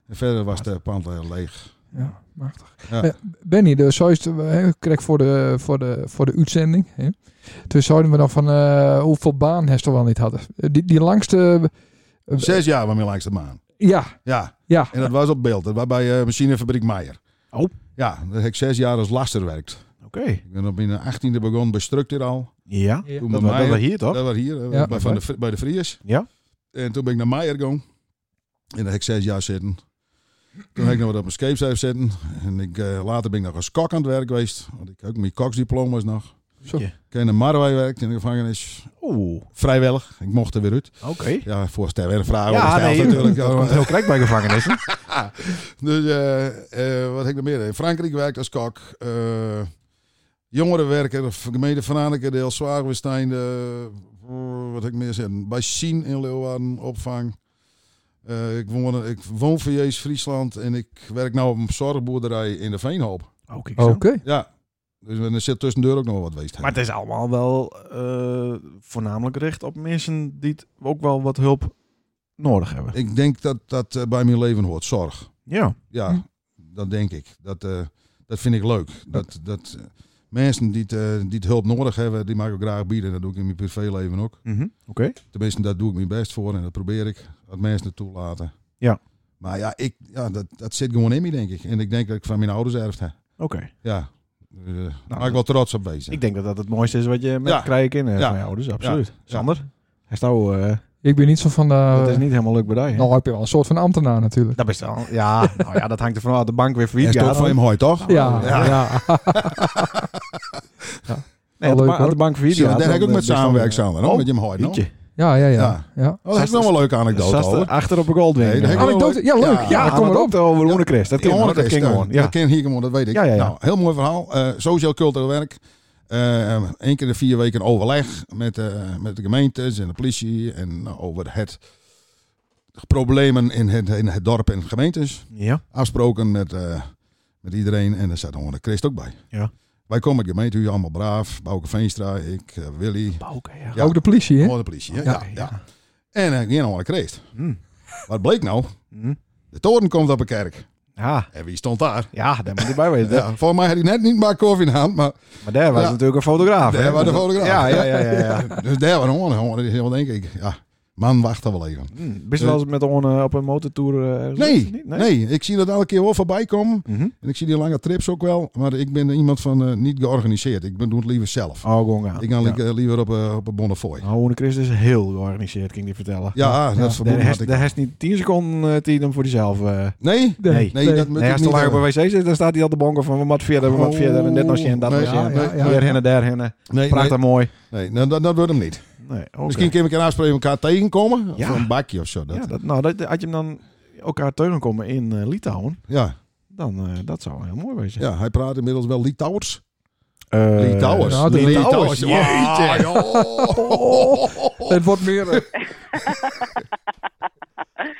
[SPEAKER 3] En verder was het pand eh, leeg.
[SPEAKER 2] Ja, machtig.
[SPEAKER 3] Ja.
[SPEAKER 2] Eh, Benny, dus zoist, ik kreeg voor de, voor de, voor de uitzending. Hè? Toen zouden we nog van eh, hoeveel baan heeft er wel niet hadden. Eh, Die, die langste. eh,
[SPEAKER 3] Zes jaar waarmee langs de maan.
[SPEAKER 2] ja,
[SPEAKER 3] Ja,
[SPEAKER 2] ja.
[SPEAKER 3] en dat was op beeld. Dat was bij eh, machinefabriek Meijer.
[SPEAKER 1] Oh.
[SPEAKER 3] Ja, daar heb ik zes jaar als laster werkt.
[SPEAKER 1] Oké.
[SPEAKER 3] Ik ben op mijn achttiende begonnen bij Structuur al.
[SPEAKER 1] Ja.
[SPEAKER 2] Ja.
[SPEAKER 3] Toen
[SPEAKER 1] Dat, was- dat
[SPEAKER 3] bij
[SPEAKER 1] was
[SPEAKER 3] Meijer.
[SPEAKER 1] hier toch?
[SPEAKER 3] Dat was hier, eh,
[SPEAKER 2] Ja.
[SPEAKER 3] bij, van de, Vri- bij de Friers.
[SPEAKER 1] Ja.
[SPEAKER 3] En toen ben ik naar Meijer gegaan. En daar heb ik zes jaar zitten. Toen heb ik nog wat op mijn scheepshuis zitten. En ik, eh, later ben ik nog als kok aan het werk geweest. Want ik heb ook mijn koksdiploma's nog.
[SPEAKER 2] Zo.
[SPEAKER 3] Ik heb in de Marwij werkt in de gevangenis.
[SPEAKER 1] Oeh,
[SPEAKER 3] Vrijwillig. Ik mocht er weer uit.
[SPEAKER 1] oké.
[SPEAKER 3] Ja, voor ter weer vragen.
[SPEAKER 1] Ja,
[SPEAKER 3] gesteld
[SPEAKER 1] nee,
[SPEAKER 3] natuurlijk.
[SPEAKER 1] dat komt heel krek bij gevangenissen.
[SPEAKER 3] Dus eh, eh, wat heb ik nog meer? In Frankrijk werkt als kok. eh, jongerenwerker, gemeente Van Anneken, deel Zwaarwestein. eh, wat heb ik meer zitten? Bij Sien in Leeuwarden, opvang. Eh, ik, woon, ik woon voor nou Jezus Friesland en ik werk nu op een zorgboerderij in de Veenhoop.
[SPEAKER 1] Oké.
[SPEAKER 2] Oké.
[SPEAKER 1] zo.
[SPEAKER 3] Ja, Dus er zit tussendoor ook nog wat weest.
[SPEAKER 1] Maar het is allemaal wel eh, voornamelijk gericht op mensen die het ook wel wat hulp nodig hebben.
[SPEAKER 3] Ik denk dat dat eh, bij mijn leven hoort. Zorg.
[SPEAKER 1] Ja.
[SPEAKER 3] Ja,
[SPEAKER 2] Hm.
[SPEAKER 3] dat denk ik. Dat, eh, dat vind ik leuk. Dat, dat, eh, mensen die het, eh, die het hulp nodig hebben, die mag ik ook graag bieden. Dat doe ik in mijn privéleven ook.
[SPEAKER 1] Mhm. Oké.
[SPEAKER 3] Tenminste, daar doe ik mijn best voor en dat probeer ik. Dat mensen het toelaten.
[SPEAKER 1] Ja.
[SPEAKER 3] Maar ja, ik, ja dat, dat zit gewoon in me, denk ik. En ik denk dat ik van mijn ouders erfd heb.
[SPEAKER 1] Oké.
[SPEAKER 3] Ja. Dus, eh, daar mag
[SPEAKER 1] Nou, dat-
[SPEAKER 3] ik wel trots op wezen.
[SPEAKER 1] Ik denk dat dat het mooiste is wat je met
[SPEAKER 3] Ja.
[SPEAKER 1] krijgen kinderen
[SPEAKER 3] Ja. nou,
[SPEAKER 1] van je ouders. Absoluut. Sander? Hij is
[SPEAKER 3] eh,
[SPEAKER 2] Ik ben niet zo van de...
[SPEAKER 1] dat is niet helemaal leuk bij jou.
[SPEAKER 2] Nou heb je wel een soort van ambtenaar natuurlijk.
[SPEAKER 1] Dat best wel. Ja, nou ja, dat hangt er vanaf dat de bank weer
[SPEAKER 3] Hij
[SPEAKER 1] failliet
[SPEAKER 3] is toch
[SPEAKER 1] gaat.
[SPEAKER 3] van hem hooi, toch?
[SPEAKER 2] Ja,
[SPEAKER 3] Ja.
[SPEAKER 2] ja.
[SPEAKER 1] Nee, als de ba-
[SPEAKER 2] Wel leuk,
[SPEAKER 1] als de
[SPEAKER 2] hoor.
[SPEAKER 1] bank failliet
[SPEAKER 3] Zie je,
[SPEAKER 1] gaat,
[SPEAKER 3] daar heb ik
[SPEAKER 1] dan,
[SPEAKER 3] ook met
[SPEAKER 1] eh, best wel-
[SPEAKER 3] samenwerking samen.
[SPEAKER 1] Oh,
[SPEAKER 3] Met je hem hooi, nou.
[SPEAKER 1] Jeetje.
[SPEAKER 2] Ja, ja, ja.
[SPEAKER 3] Ja.
[SPEAKER 2] ja.
[SPEAKER 3] Oh, dat is nog wel een leuke anekdote.
[SPEAKER 1] Zat er
[SPEAKER 3] hoor.
[SPEAKER 1] achter op een Goldwing.
[SPEAKER 3] Nee, dat heb ik wel
[SPEAKER 2] Anekdote,
[SPEAKER 3] leuk.
[SPEAKER 2] ja leuk.
[SPEAKER 3] Ja,
[SPEAKER 2] Ja,
[SPEAKER 1] Ja,
[SPEAKER 2] kom
[SPEAKER 1] Ah, maar
[SPEAKER 2] erop.
[SPEAKER 1] ook
[SPEAKER 3] Oh,
[SPEAKER 1] over Rune Christ. Dat kan
[SPEAKER 3] Ja,
[SPEAKER 1] gewoon. Dat
[SPEAKER 3] orkest,
[SPEAKER 1] kan
[SPEAKER 3] ja.
[SPEAKER 1] gewoon.
[SPEAKER 3] Dat
[SPEAKER 1] Ja.
[SPEAKER 3] ken hier gewoon, dat weet ik.
[SPEAKER 1] Ja, ja, ja.
[SPEAKER 3] Nou, heel mooi verhaal. Eh, sociaal cultureel werk. Eén keer de vier weken overleg met, eh, met de gemeentes en de politie en nou, over het problemen in het, in het dorp en gemeentes.
[SPEAKER 1] Ja.
[SPEAKER 3] Afsproken met, eh, met iedereen en daar zat Honor Christ ook bij.
[SPEAKER 1] Ja.
[SPEAKER 3] Wij komen met de gemeente, u allemaal braaf. Bouke Veenstra, ik, eh, Willy.
[SPEAKER 1] Bouke, ja.
[SPEAKER 3] Ja.
[SPEAKER 2] Ook de politie, hè?
[SPEAKER 3] Hoor de politie, hè? Ja, ja. En eh, geen Honor Christ.
[SPEAKER 1] Hm.
[SPEAKER 3] Wat bleek nou?
[SPEAKER 1] Hm.
[SPEAKER 3] De toren komt op een kerk.
[SPEAKER 1] Ja,
[SPEAKER 3] En wie stond daar?
[SPEAKER 1] ja, daar moet je bij weten.
[SPEAKER 3] Ja, volgens mij had hij net niet maar koffie in de hand, maar
[SPEAKER 1] Maar daar was
[SPEAKER 3] Ja.
[SPEAKER 1] natuurlijk een fotograaf.
[SPEAKER 3] Daar
[SPEAKER 1] hè?
[SPEAKER 3] was de fotograaf.
[SPEAKER 1] Ja, ja, ja. ja, ja.
[SPEAKER 3] Dus daar waren honger, honger. Die heel denk ik, ja, man, wacht dan wel even.
[SPEAKER 1] Hm, Best wel eens met een, eh, op een motortour? eh, ergens
[SPEAKER 3] Nee,
[SPEAKER 1] geweest?
[SPEAKER 3] nee, ik zie dat elke keer wel voorbij komen.
[SPEAKER 1] Mhm.
[SPEAKER 3] En ik zie die lange trips ook wel. Maar ik ben iemand van eh, niet georganiseerd. Ik ben, doe het liever zelf.
[SPEAKER 1] Oh, gewoon gaan.
[SPEAKER 3] ik ga
[SPEAKER 1] ja.
[SPEAKER 3] li- eh, liever op, eh, op een bonnefoy.
[SPEAKER 1] Nou, Hoene Christus is heel georganiseerd, ging die vertellen.
[SPEAKER 3] Ja, ah, dat
[SPEAKER 2] Ja.
[SPEAKER 3] vermoeden
[SPEAKER 1] Daar
[SPEAKER 3] had
[SPEAKER 1] heeft-
[SPEAKER 3] ik.
[SPEAKER 1] Daar heeft niet 10 seconden eh, tijd om voor jezelf. eh.
[SPEAKER 3] Nee?
[SPEAKER 1] Nee.
[SPEAKER 3] Nee, dat moet
[SPEAKER 1] Nee,
[SPEAKER 3] ik
[SPEAKER 1] als te
[SPEAKER 3] niet eh,
[SPEAKER 1] lang op een
[SPEAKER 3] hebben.
[SPEAKER 1] wc zit, dan staat hij al te bonken van we moeten verder, we moeten
[SPEAKER 3] Oh,
[SPEAKER 1] verder. En dit nog zien, dat nog
[SPEAKER 3] nee,
[SPEAKER 1] zien.
[SPEAKER 2] ja, ja, ja.
[SPEAKER 1] Hier en daar heen.
[SPEAKER 3] Nee,
[SPEAKER 1] Prachtig mooi.
[SPEAKER 3] nee, nee, nou, dat, dat wordt hem niet.
[SPEAKER 1] Nee, oké.
[SPEAKER 3] Misschien kunnen we elkaar afspreken elkaar tegenkomen.
[SPEAKER 1] Ja.
[SPEAKER 3] Of een bakje of zo. Dat.
[SPEAKER 1] Ja,
[SPEAKER 3] Ja.
[SPEAKER 1] dat, nou, dat, had je hem dan elkaar tegenkomen in eh, Litouwen,
[SPEAKER 3] Ja.
[SPEAKER 1] dan eh, dat zou heel mooi zijn.
[SPEAKER 3] hij praat inmiddels wel Litouwers.
[SPEAKER 1] Eh,
[SPEAKER 3] Litouwers.
[SPEAKER 2] ja, de
[SPEAKER 1] Litouwers,
[SPEAKER 3] Ah, joh.
[SPEAKER 2] Het wordt meer... eh,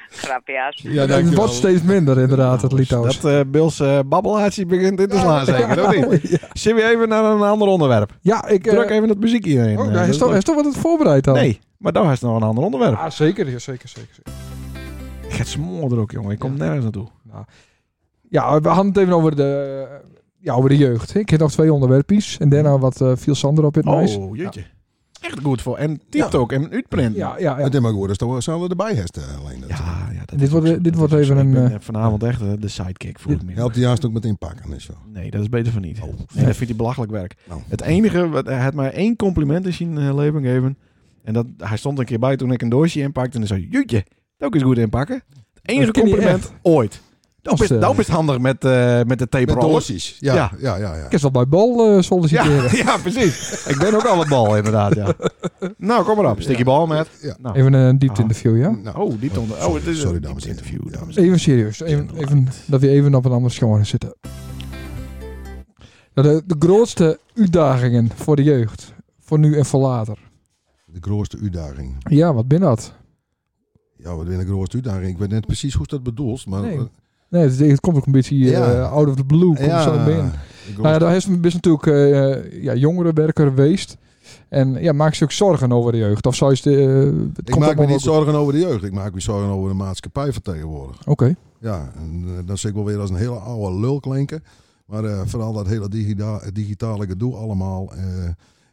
[SPEAKER 5] Grapjas.
[SPEAKER 3] Ja,
[SPEAKER 2] het
[SPEAKER 3] dankjewel.
[SPEAKER 2] wordt steeds minder inderdaad, het Litouws.
[SPEAKER 1] Dat eh Bils eh, babbelatie begint in te slaan, zeker, of niet?
[SPEAKER 2] Ja,
[SPEAKER 1] Zullen we even naar een ander onderwerp?
[SPEAKER 2] Ja, ik... eh,
[SPEAKER 1] Druk even dat muziek hierin.
[SPEAKER 2] Oh,
[SPEAKER 1] eh,
[SPEAKER 2] daar
[SPEAKER 1] dat
[SPEAKER 2] is
[SPEAKER 1] is
[SPEAKER 2] toch,
[SPEAKER 1] leuk.
[SPEAKER 2] is toch wat het voorbereid dan?
[SPEAKER 1] Nee, maar daar is nog een ander onderwerp.
[SPEAKER 2] Ah, zeker, ja, zeker, zeker. zeker.
[SPEAKER 1] Ik ga smoor er ook, jongen. Ik kom
[SPEAKER 2] Ja.
[SPEAKER 1] nergens naartoe.
[SPEAKER 2] Ja, we hadden het even over de, eh, ja, over de jeugd. Ik heb nog twee onderwerpjes. En daarna wat eh, viel Sander op in het meis.
[SPEAKER 1] Oh, jeetje. Echt goed voor. En TikTok en Utprint.
[SPEAKER 2] Ja, ja, ja.
[SPEAKER 3] Het is maar goed, dat is toch wel erbij heeft eh, alleen. Dat, eh,
[SPEAKER 1] ja, ja, dat
[SPEAKER 2] Dit
[SPEAKER 1] is
[SPEAKER 2] wordt-
[SPEAKER 1] ook zo.
[SPEAKER 2] dit
[SPEAKER 1] Dat
[SPEAKER 2] wordt
[SPEAKER 1] is ook
[SPEAKER 2] even
[SPEAKER 1] zo. Ik
[SPEAKER 2] een,
[SPEAKER 1] ben,
[SPEAKER 2] eh,
[SPEAKER 1] eh, vanavond echt eh, de sidekick voor het meer.
[SPEAKER 3] Helpt die juist ook met inpakken en zo.
[SPEAKER 1] Nee, dat is beter van niet.
[SPEAKER 3] Oh.
[SPEAKER 1] Nee, dat vindt hij belachelijk werk.
[SPEAKER 3] Nou.
[SPEAKER 1] Het enige, wat, hij had maar één compliment in zijn eh, leven gegeven. En dat, hij stond een keer bij toen ik een doosje inpakte. En dan zei jeetje, dat ook eens goed inpakken. Het enige
[SPEAKER 2] Dat ken je
[SPEAKER 1] compliment
[SPEAKER 2] echt.
[SPEAKER 1] ooit. Dat
[SPEAKER 2] is,
[SPEAKER 1] is,
[SPEAKER 2] eh,
[SPEAKER 1] dat is handig met, eh, met de tape
[SPEAKER 3] Met
[SPEAKER 1] roller.
[SPEAKER 3] dossies. Ja,
[SPEAKER 1] Ja.
[SPEAKER 3] ja, ja. ja,
[SPEAKER 2] Ik is wel bij Bal eh,
[SPEAKER 1] Ja,
[SPEAKER 2] solliciteren.
[SPEAKER 1] ja, precies. ik ben ook al het bal, inderdaad. Ja. nou, kom maar op. Stik je bal, met.
[SPEAKER 3] Ja.
[SPEAKER 1] Nou.
[SPEAKER 2] Even een diepte
[SPEAKER 1] Ah.
[SPEAKER 2] interview, ja?
[SPEAKER 3] Nou,
[SPEAKER 1] Oh, die onder. Oh, het is
[SPEAKER 3] sorry,
[SPEAKER 1] een
[SPEAKER 3] dames en heren.
[SPEAKER 1] interview.
[SPEAKER 3] Ja.
[SPEAKER 1] dames en
[SPEAKER 2] Even serieus. Even, even, dat we even op een ander schoon zitten. Nou, De, de grootste uitdagingen voor de jeugd. Voor nu en voor later.
[SPEAKER 3] de grootste uitdaging.
[SPEAKER 2] Ja, wat ben dat?
[SPEAKER 3] Ja, wat is de grootste uitdaging? Ik weet net precies hoe ze dat bedoelt. Maar,
[SPEAKER 2] Nee, Nee, het, het komt ook een beetje eh,
[SPEAKER 3] Ja.
[SPEAKER 2] out of the blue. Komt
[SPEAKER 3] ja,
[SPEAKER 2] zo binnen.
[SPEAKER 3] de
[SPEAKER 2] Nou ja,
[SPEAKER 3] grootste-
[SPEAKER 2] daar is, is natuurlijk eh ja, jongerenwerker geweest. En ja, maak je ook zorgen over de jeugd? Of zou je... het, eh, het
[SPEAKER 3] ik maak me
[SPEAKER 2] allemaal
[SPEAKER 3] niet
[SPEAKER 2] wel
[SPEAKER 3] zorgen over de jeugd. Ik maak me zorgen over de maatschappij van tegenwoordig.
[SPEAKER 2] goed. Oké.
[SPEAKER 3] Ja, en eh, dan zit ik wel weer als een hele oude lul klinken. Maar eh, vooral dat hele digida- digitale gedoe allemaal. eh,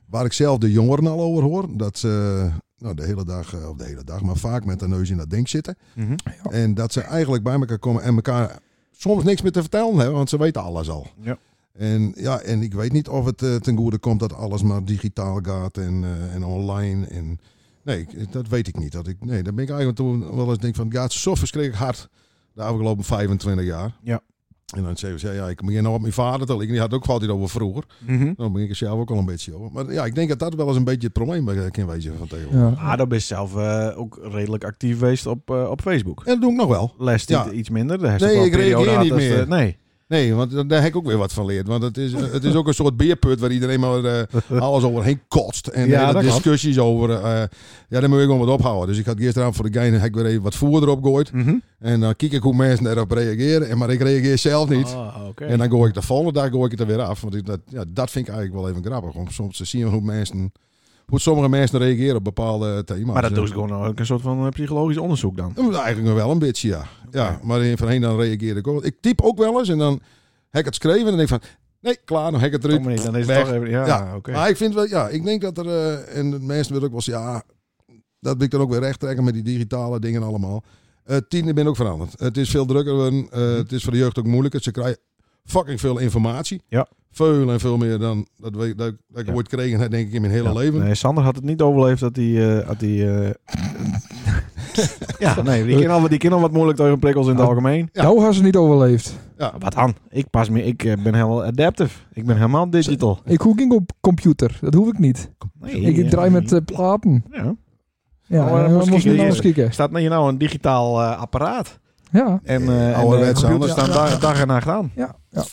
[SPEAKER 3] waar ik zelf de jongeren al over hoor. Dat ze eh, nou, de hele dag, eh, of de hele dag, maar vaak met de neus in dat ding zitten.
[SPEAKER 1] heren. Mhm.
[SPEAKER 3] En dat ze eigenlijk bij elkaar komen en elkaar soms niks meer te vertellen hebben, want ze weten alles al.
[SPEAKER 1] Ja.
[SPEAKER 3] En, ja, en ik weet niet of het eh, ten goede komt dat alles maar digitaal gaat en, eh, en online. En, nee, ik- eh, dat weet ik niet. Dat ik, nee, dan ben ik eigenlijk toen wel eens denk van, het gaat zo verschrikkelijk hard de afgelopen 25 jaar.
[SPEAKER 1] Ja.
[SPEAKER 3] En dan zeggen ze, ja, ik begin nog op mijn vader te liggen. Die had ook altijd over vroeger.
[SPEAKER 1] Mhm.
[SPEAKER 3] Dan begin ik er zelf ook al een beetje over. Maar ja, ik denk dat dat wel eens een beetje het probleem eh, kan wezen van tegenwoordig.
[SPEAKER 2] Ja.
[SPEAKER 1] Ah, dan ben je zelf eh, ook redelijk actief geweest op, eh, op Facebook.
[SPEAKER 3] En dat doe ik nog wel.
[SPEAKER 1] Les
[SPEAKER 3] Ja.
[SPEAKER 1] iets minder. Daar is
[SPEAKER 3] Nee,
[SPEAKER 1] toch wel
[SPEAKER 3] ik
[SPEAKER 1] een periode
[SPEAKER 3] reageer
[SPEAKER 1] gehad
[SPEAKER 3] niet
[SPEAKER 1] dat, eh,
[SPEAKER 3] meer.
[SPEAKER 1] nee.
[SPEAKER 3] Nee, want daar daar heb ik ook weer wat van geleerd. Want het is, eh, het is ook een soort beerput waar iedereen maar eh, alles overheen kotst.
[SPEAKER 1] Ja,
[SPEAKER 3] En hele
[SPEAKER 1] dat klopt.
[SPEAKER 3] discussies over. eh, ja, daar moet ik gewoon wat ophouden. Dus ik had gisteravond voor de gein heb ik weer even wat voer erop gegooid.
[SPEAKER 1] Mhm.
[SPEAKER 3] En dan kijk ik hoe mensen daarop reageren. En, maar ik reageer zelf niet.
[SPEAKER 1] Ah, oké.
[SPEAKER 3] En dan gooi ik de volgende dag gooi ik het er weer af. Want ik- dat, ja, dat vind ik eigenlijk wel even grappig. Om soms te zien hoe mensen. Hoe sommige mensen reageren op bepaalde thema's. Eh,
[SPEAKER 1] Maar dat doe
[SPEAKER 3] En-
[SPEAKER 1] ik gewoon ook een soort van eh, psychologisch onderzoek dan.
[SPEAKER 3] ja, maar Eigenlijk wel een beetje, ja. Ja, maar in- voorheen dan reageerde ik ook. Ik typ ook wel eens en dan heb ik het geschreven en dan denk ik van... Nee, klaar, dan heb ik het
[SPEAKER 1] Kom
[SPEAKER 3] eruit.
[SPEAKER 1] maar niet, dan is het
[SPEAKER 3] Weg.
[SPEAKER 1] toch even... Ja,
[SPEAKER 3] Ja.
[SPEAKER 1] oké.
[SPEAKER 3] Maar ik vind wel, ja, ik denk dat er... eh, en de mensen willen ook wel zeggen, ja... Dat wil ik dan ook weer recht trekken met die digitale dingen allemaal. Eh tien, ik ben ook veranderd. Het is veel drukker geworden.
[SPEAKER 1] Mhm.
[SPEAKER 3] eh, het is voor de jeugd ook moeilijker. Ze krijgen fucking veel informatie.
[SPEAKER 1] Ja.
[SPEAKER 3] Veel en veel meer dan dat, we, dat, dat ik
[SPEAKER 1] Ja.
[SPEAKER 3] ooit kreeg, denk ik, in mijn hele
[SPEAKER 1] Ja.
[SPEAKER 3] leven.
[SPEAKER 1] Nee, Sander had het niet overleefd dat hij... eh, dat hij eh, ja, nee, die kennen al, wat- die kennen al wat moeilijk tegen prikkels in het algemeen.
[SPEAKER 3] Ja.
[SPEAKER 2] Nou, had ze niet overleefd.
[SPEAKER 1] Wat aan? Ik pas me, ik eh, ben helemaal adaptive. Ik ben helemaal digital.
[SPEAKER 2] Ik hoef geen op computer. Dat hoef ik niet.
[SPEAKER 1] Nee,
[SPEAKER 2] ik
[SPEAKER 1] ja,
[SPEAKER 2] draai met
[SPEAKER 1] nee.
[SPEAKER 2] eh, platen.
[SPEAKER 1] Ja.
[SPEAKER 2] Ja,
[SPEAKER 1] Oh, dan
[SPEAKER 2] eh,
[SPEAKER 1] moest
[SPEAKER 2] moest
[SPEAKER 1] ik
[SPEAKER 2] niet
[SPEAKER 1] hier-
[SPEAKER 2] naar ons
[SPEAKER 1] Er
[SPEAKER 2] kijken.
[SPEAKER 1] Staat hier nou een digitaal eh, apparaat?
[SPEAKER 2] Ja.
[SPEAKER 1] En,
[SPEAKER 3] Nee,
[SPEAKER 1] eh en de
[SPEAKER 3] ouderwets
[SPEAKER 1] computer
[SPEAKER 3] anders.
[SPEAKER 1] staan dag, dag en nacht aan.
[SPEAKER 2] Ja. ja.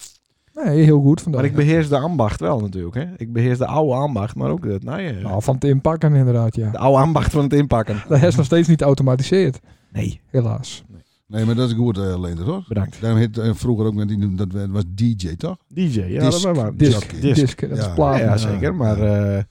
[SPEAKER 2] Nee, heel goed vandaag.
[SPEAKER 1] Maar ik beheers de ambacht wel natuurlijk. Hè? Ik beheers de oude ambacht, maar ook het nee, eh,
[SPEAKER 2] Nou, van het inpakken inderdaad, ja.
[SPEAKER 1] de oude ambacht van het inpakken.
[SPEAKER 2] Dat is nog steeds niet automatiseerd,
[SPEAKER 1] Nee,
[SPEAKER 2] helaas.
[SPEAKER 3] Nee, maar dat is goed, eh Leender, hoor.
[SPEAKER 1] bedankt.
[SPEAKER 3] Daarom heet eh, vroeger ook met die, dat was DJ, toch?
[SPEAKER 1] DJ, ja,
[SPEAKER 3] Disc-
[SPEAKER 1] dat was waar.
[SPEAKER 3] disc.
[SPEAKER 1] Disc.
[SPEAKER 2] Disc,
[SPEAKER 1] Disc.
[SPEAKER 2] dat
[SPEAKER 3] Ja.
[SPEAKER 2] is
[SPEAKER 1] Ja,
[SPEAKER 2] platen.
[SPEAKER 1] ja, zeker. Maar eh,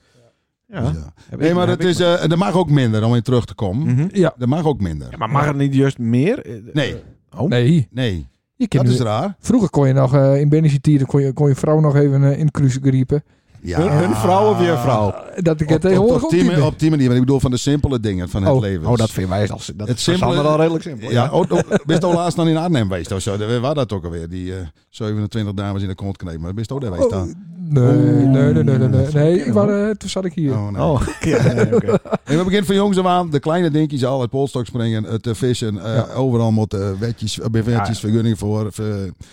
[SPEAKER 1] ja,
[SPEAKER 3] Dus ja.
[SPEAKER 1] heb
[SPEAKER 3] Nee,
[SPEAKER 1] ik-
[SPEAKER 3] maar
[SPEAKER 1] heb
[SPEAKER 3] het
[SPEAKER 1] ik
[SPEAKER 3] is, eh dat mag ook minder om in terug te komen.
[SPEAKER 1] Mhm.
[SPEAKER 2] Ja.
[SPEAKER 3] Dat mag ook minder.
[SPEAKER 1] Ja, maar mag het niet juist meer? Eh,
[SPEAKER 3] Nee,
[SPEAKER 1] Oh.
[SPEAKER 2] Nee,
[SPEAKER 3] nee.
[SPEAKER 2] je kan
[SPEAKER 3] Dat
[SPEAKER 2] nu-
[SPEAKER 3] is raar.
[SPEAKER 2] Vroeger kon je nog eh, in Benny Tieren kon je, kon je vrouw nog even eh, in cruise griepen.
[SPEAKER 3] Ja.
[SPEAKER 1] Hun, hun vrouw of je vrouw?
[SPEAKER 2] Eh, Dat ik
[SPEAKER 3] Op,
[SPEAKER 2] het
[SPEAKER 3] op,
[SPEAKER 2] tegenwoordig
[SPEAKER 3] op
[SPEAKER 2] ook
[SPEAKER 3] die
[SPEAKER 2] niet
[SPEAKER 3] manier-
[SPEAKER 2] meer-
[SPEAKER 3] op die manier, maar ik bedoel van de simpele dingen van het
[SPEAKER 2] Oh.
[SPEAKER 3] leven.
[SPEAKER 1] Oh, dat vinden wij als dat
[SPEAKER 3] Het
[SPEAKER 1] is
[SPEAKER 3] simpele-
[SPEAKER 1] allemaal al redelijk simpel.
[SPEAKER 3] Ja, oh, oh, bist al laatst dan in Arnhem geweest of zo? Daar waren dat ook alweer, die eh, 27 dames in de kont knepen. Maar bist ook daar geweest
[SPEAKER 2] Oh,
[SPEAKER 3] dan?
[SPEAKER 2] nee, nee, nee, nee, nee, nee. Nee, ik was, eh, toen zat ik hier.
[SPEAKER 3] Oh, nee.
[SPEAKER 1] Oh, ja, nee, oké.
[SPEAKER 3] Nee, we beginnen van jongs af aan. De kleine dingetjes, al het polstok springen, het eh, vissen. eh, Overal moeten eh, wetjes, eh, wetjes vergunning voor. eh,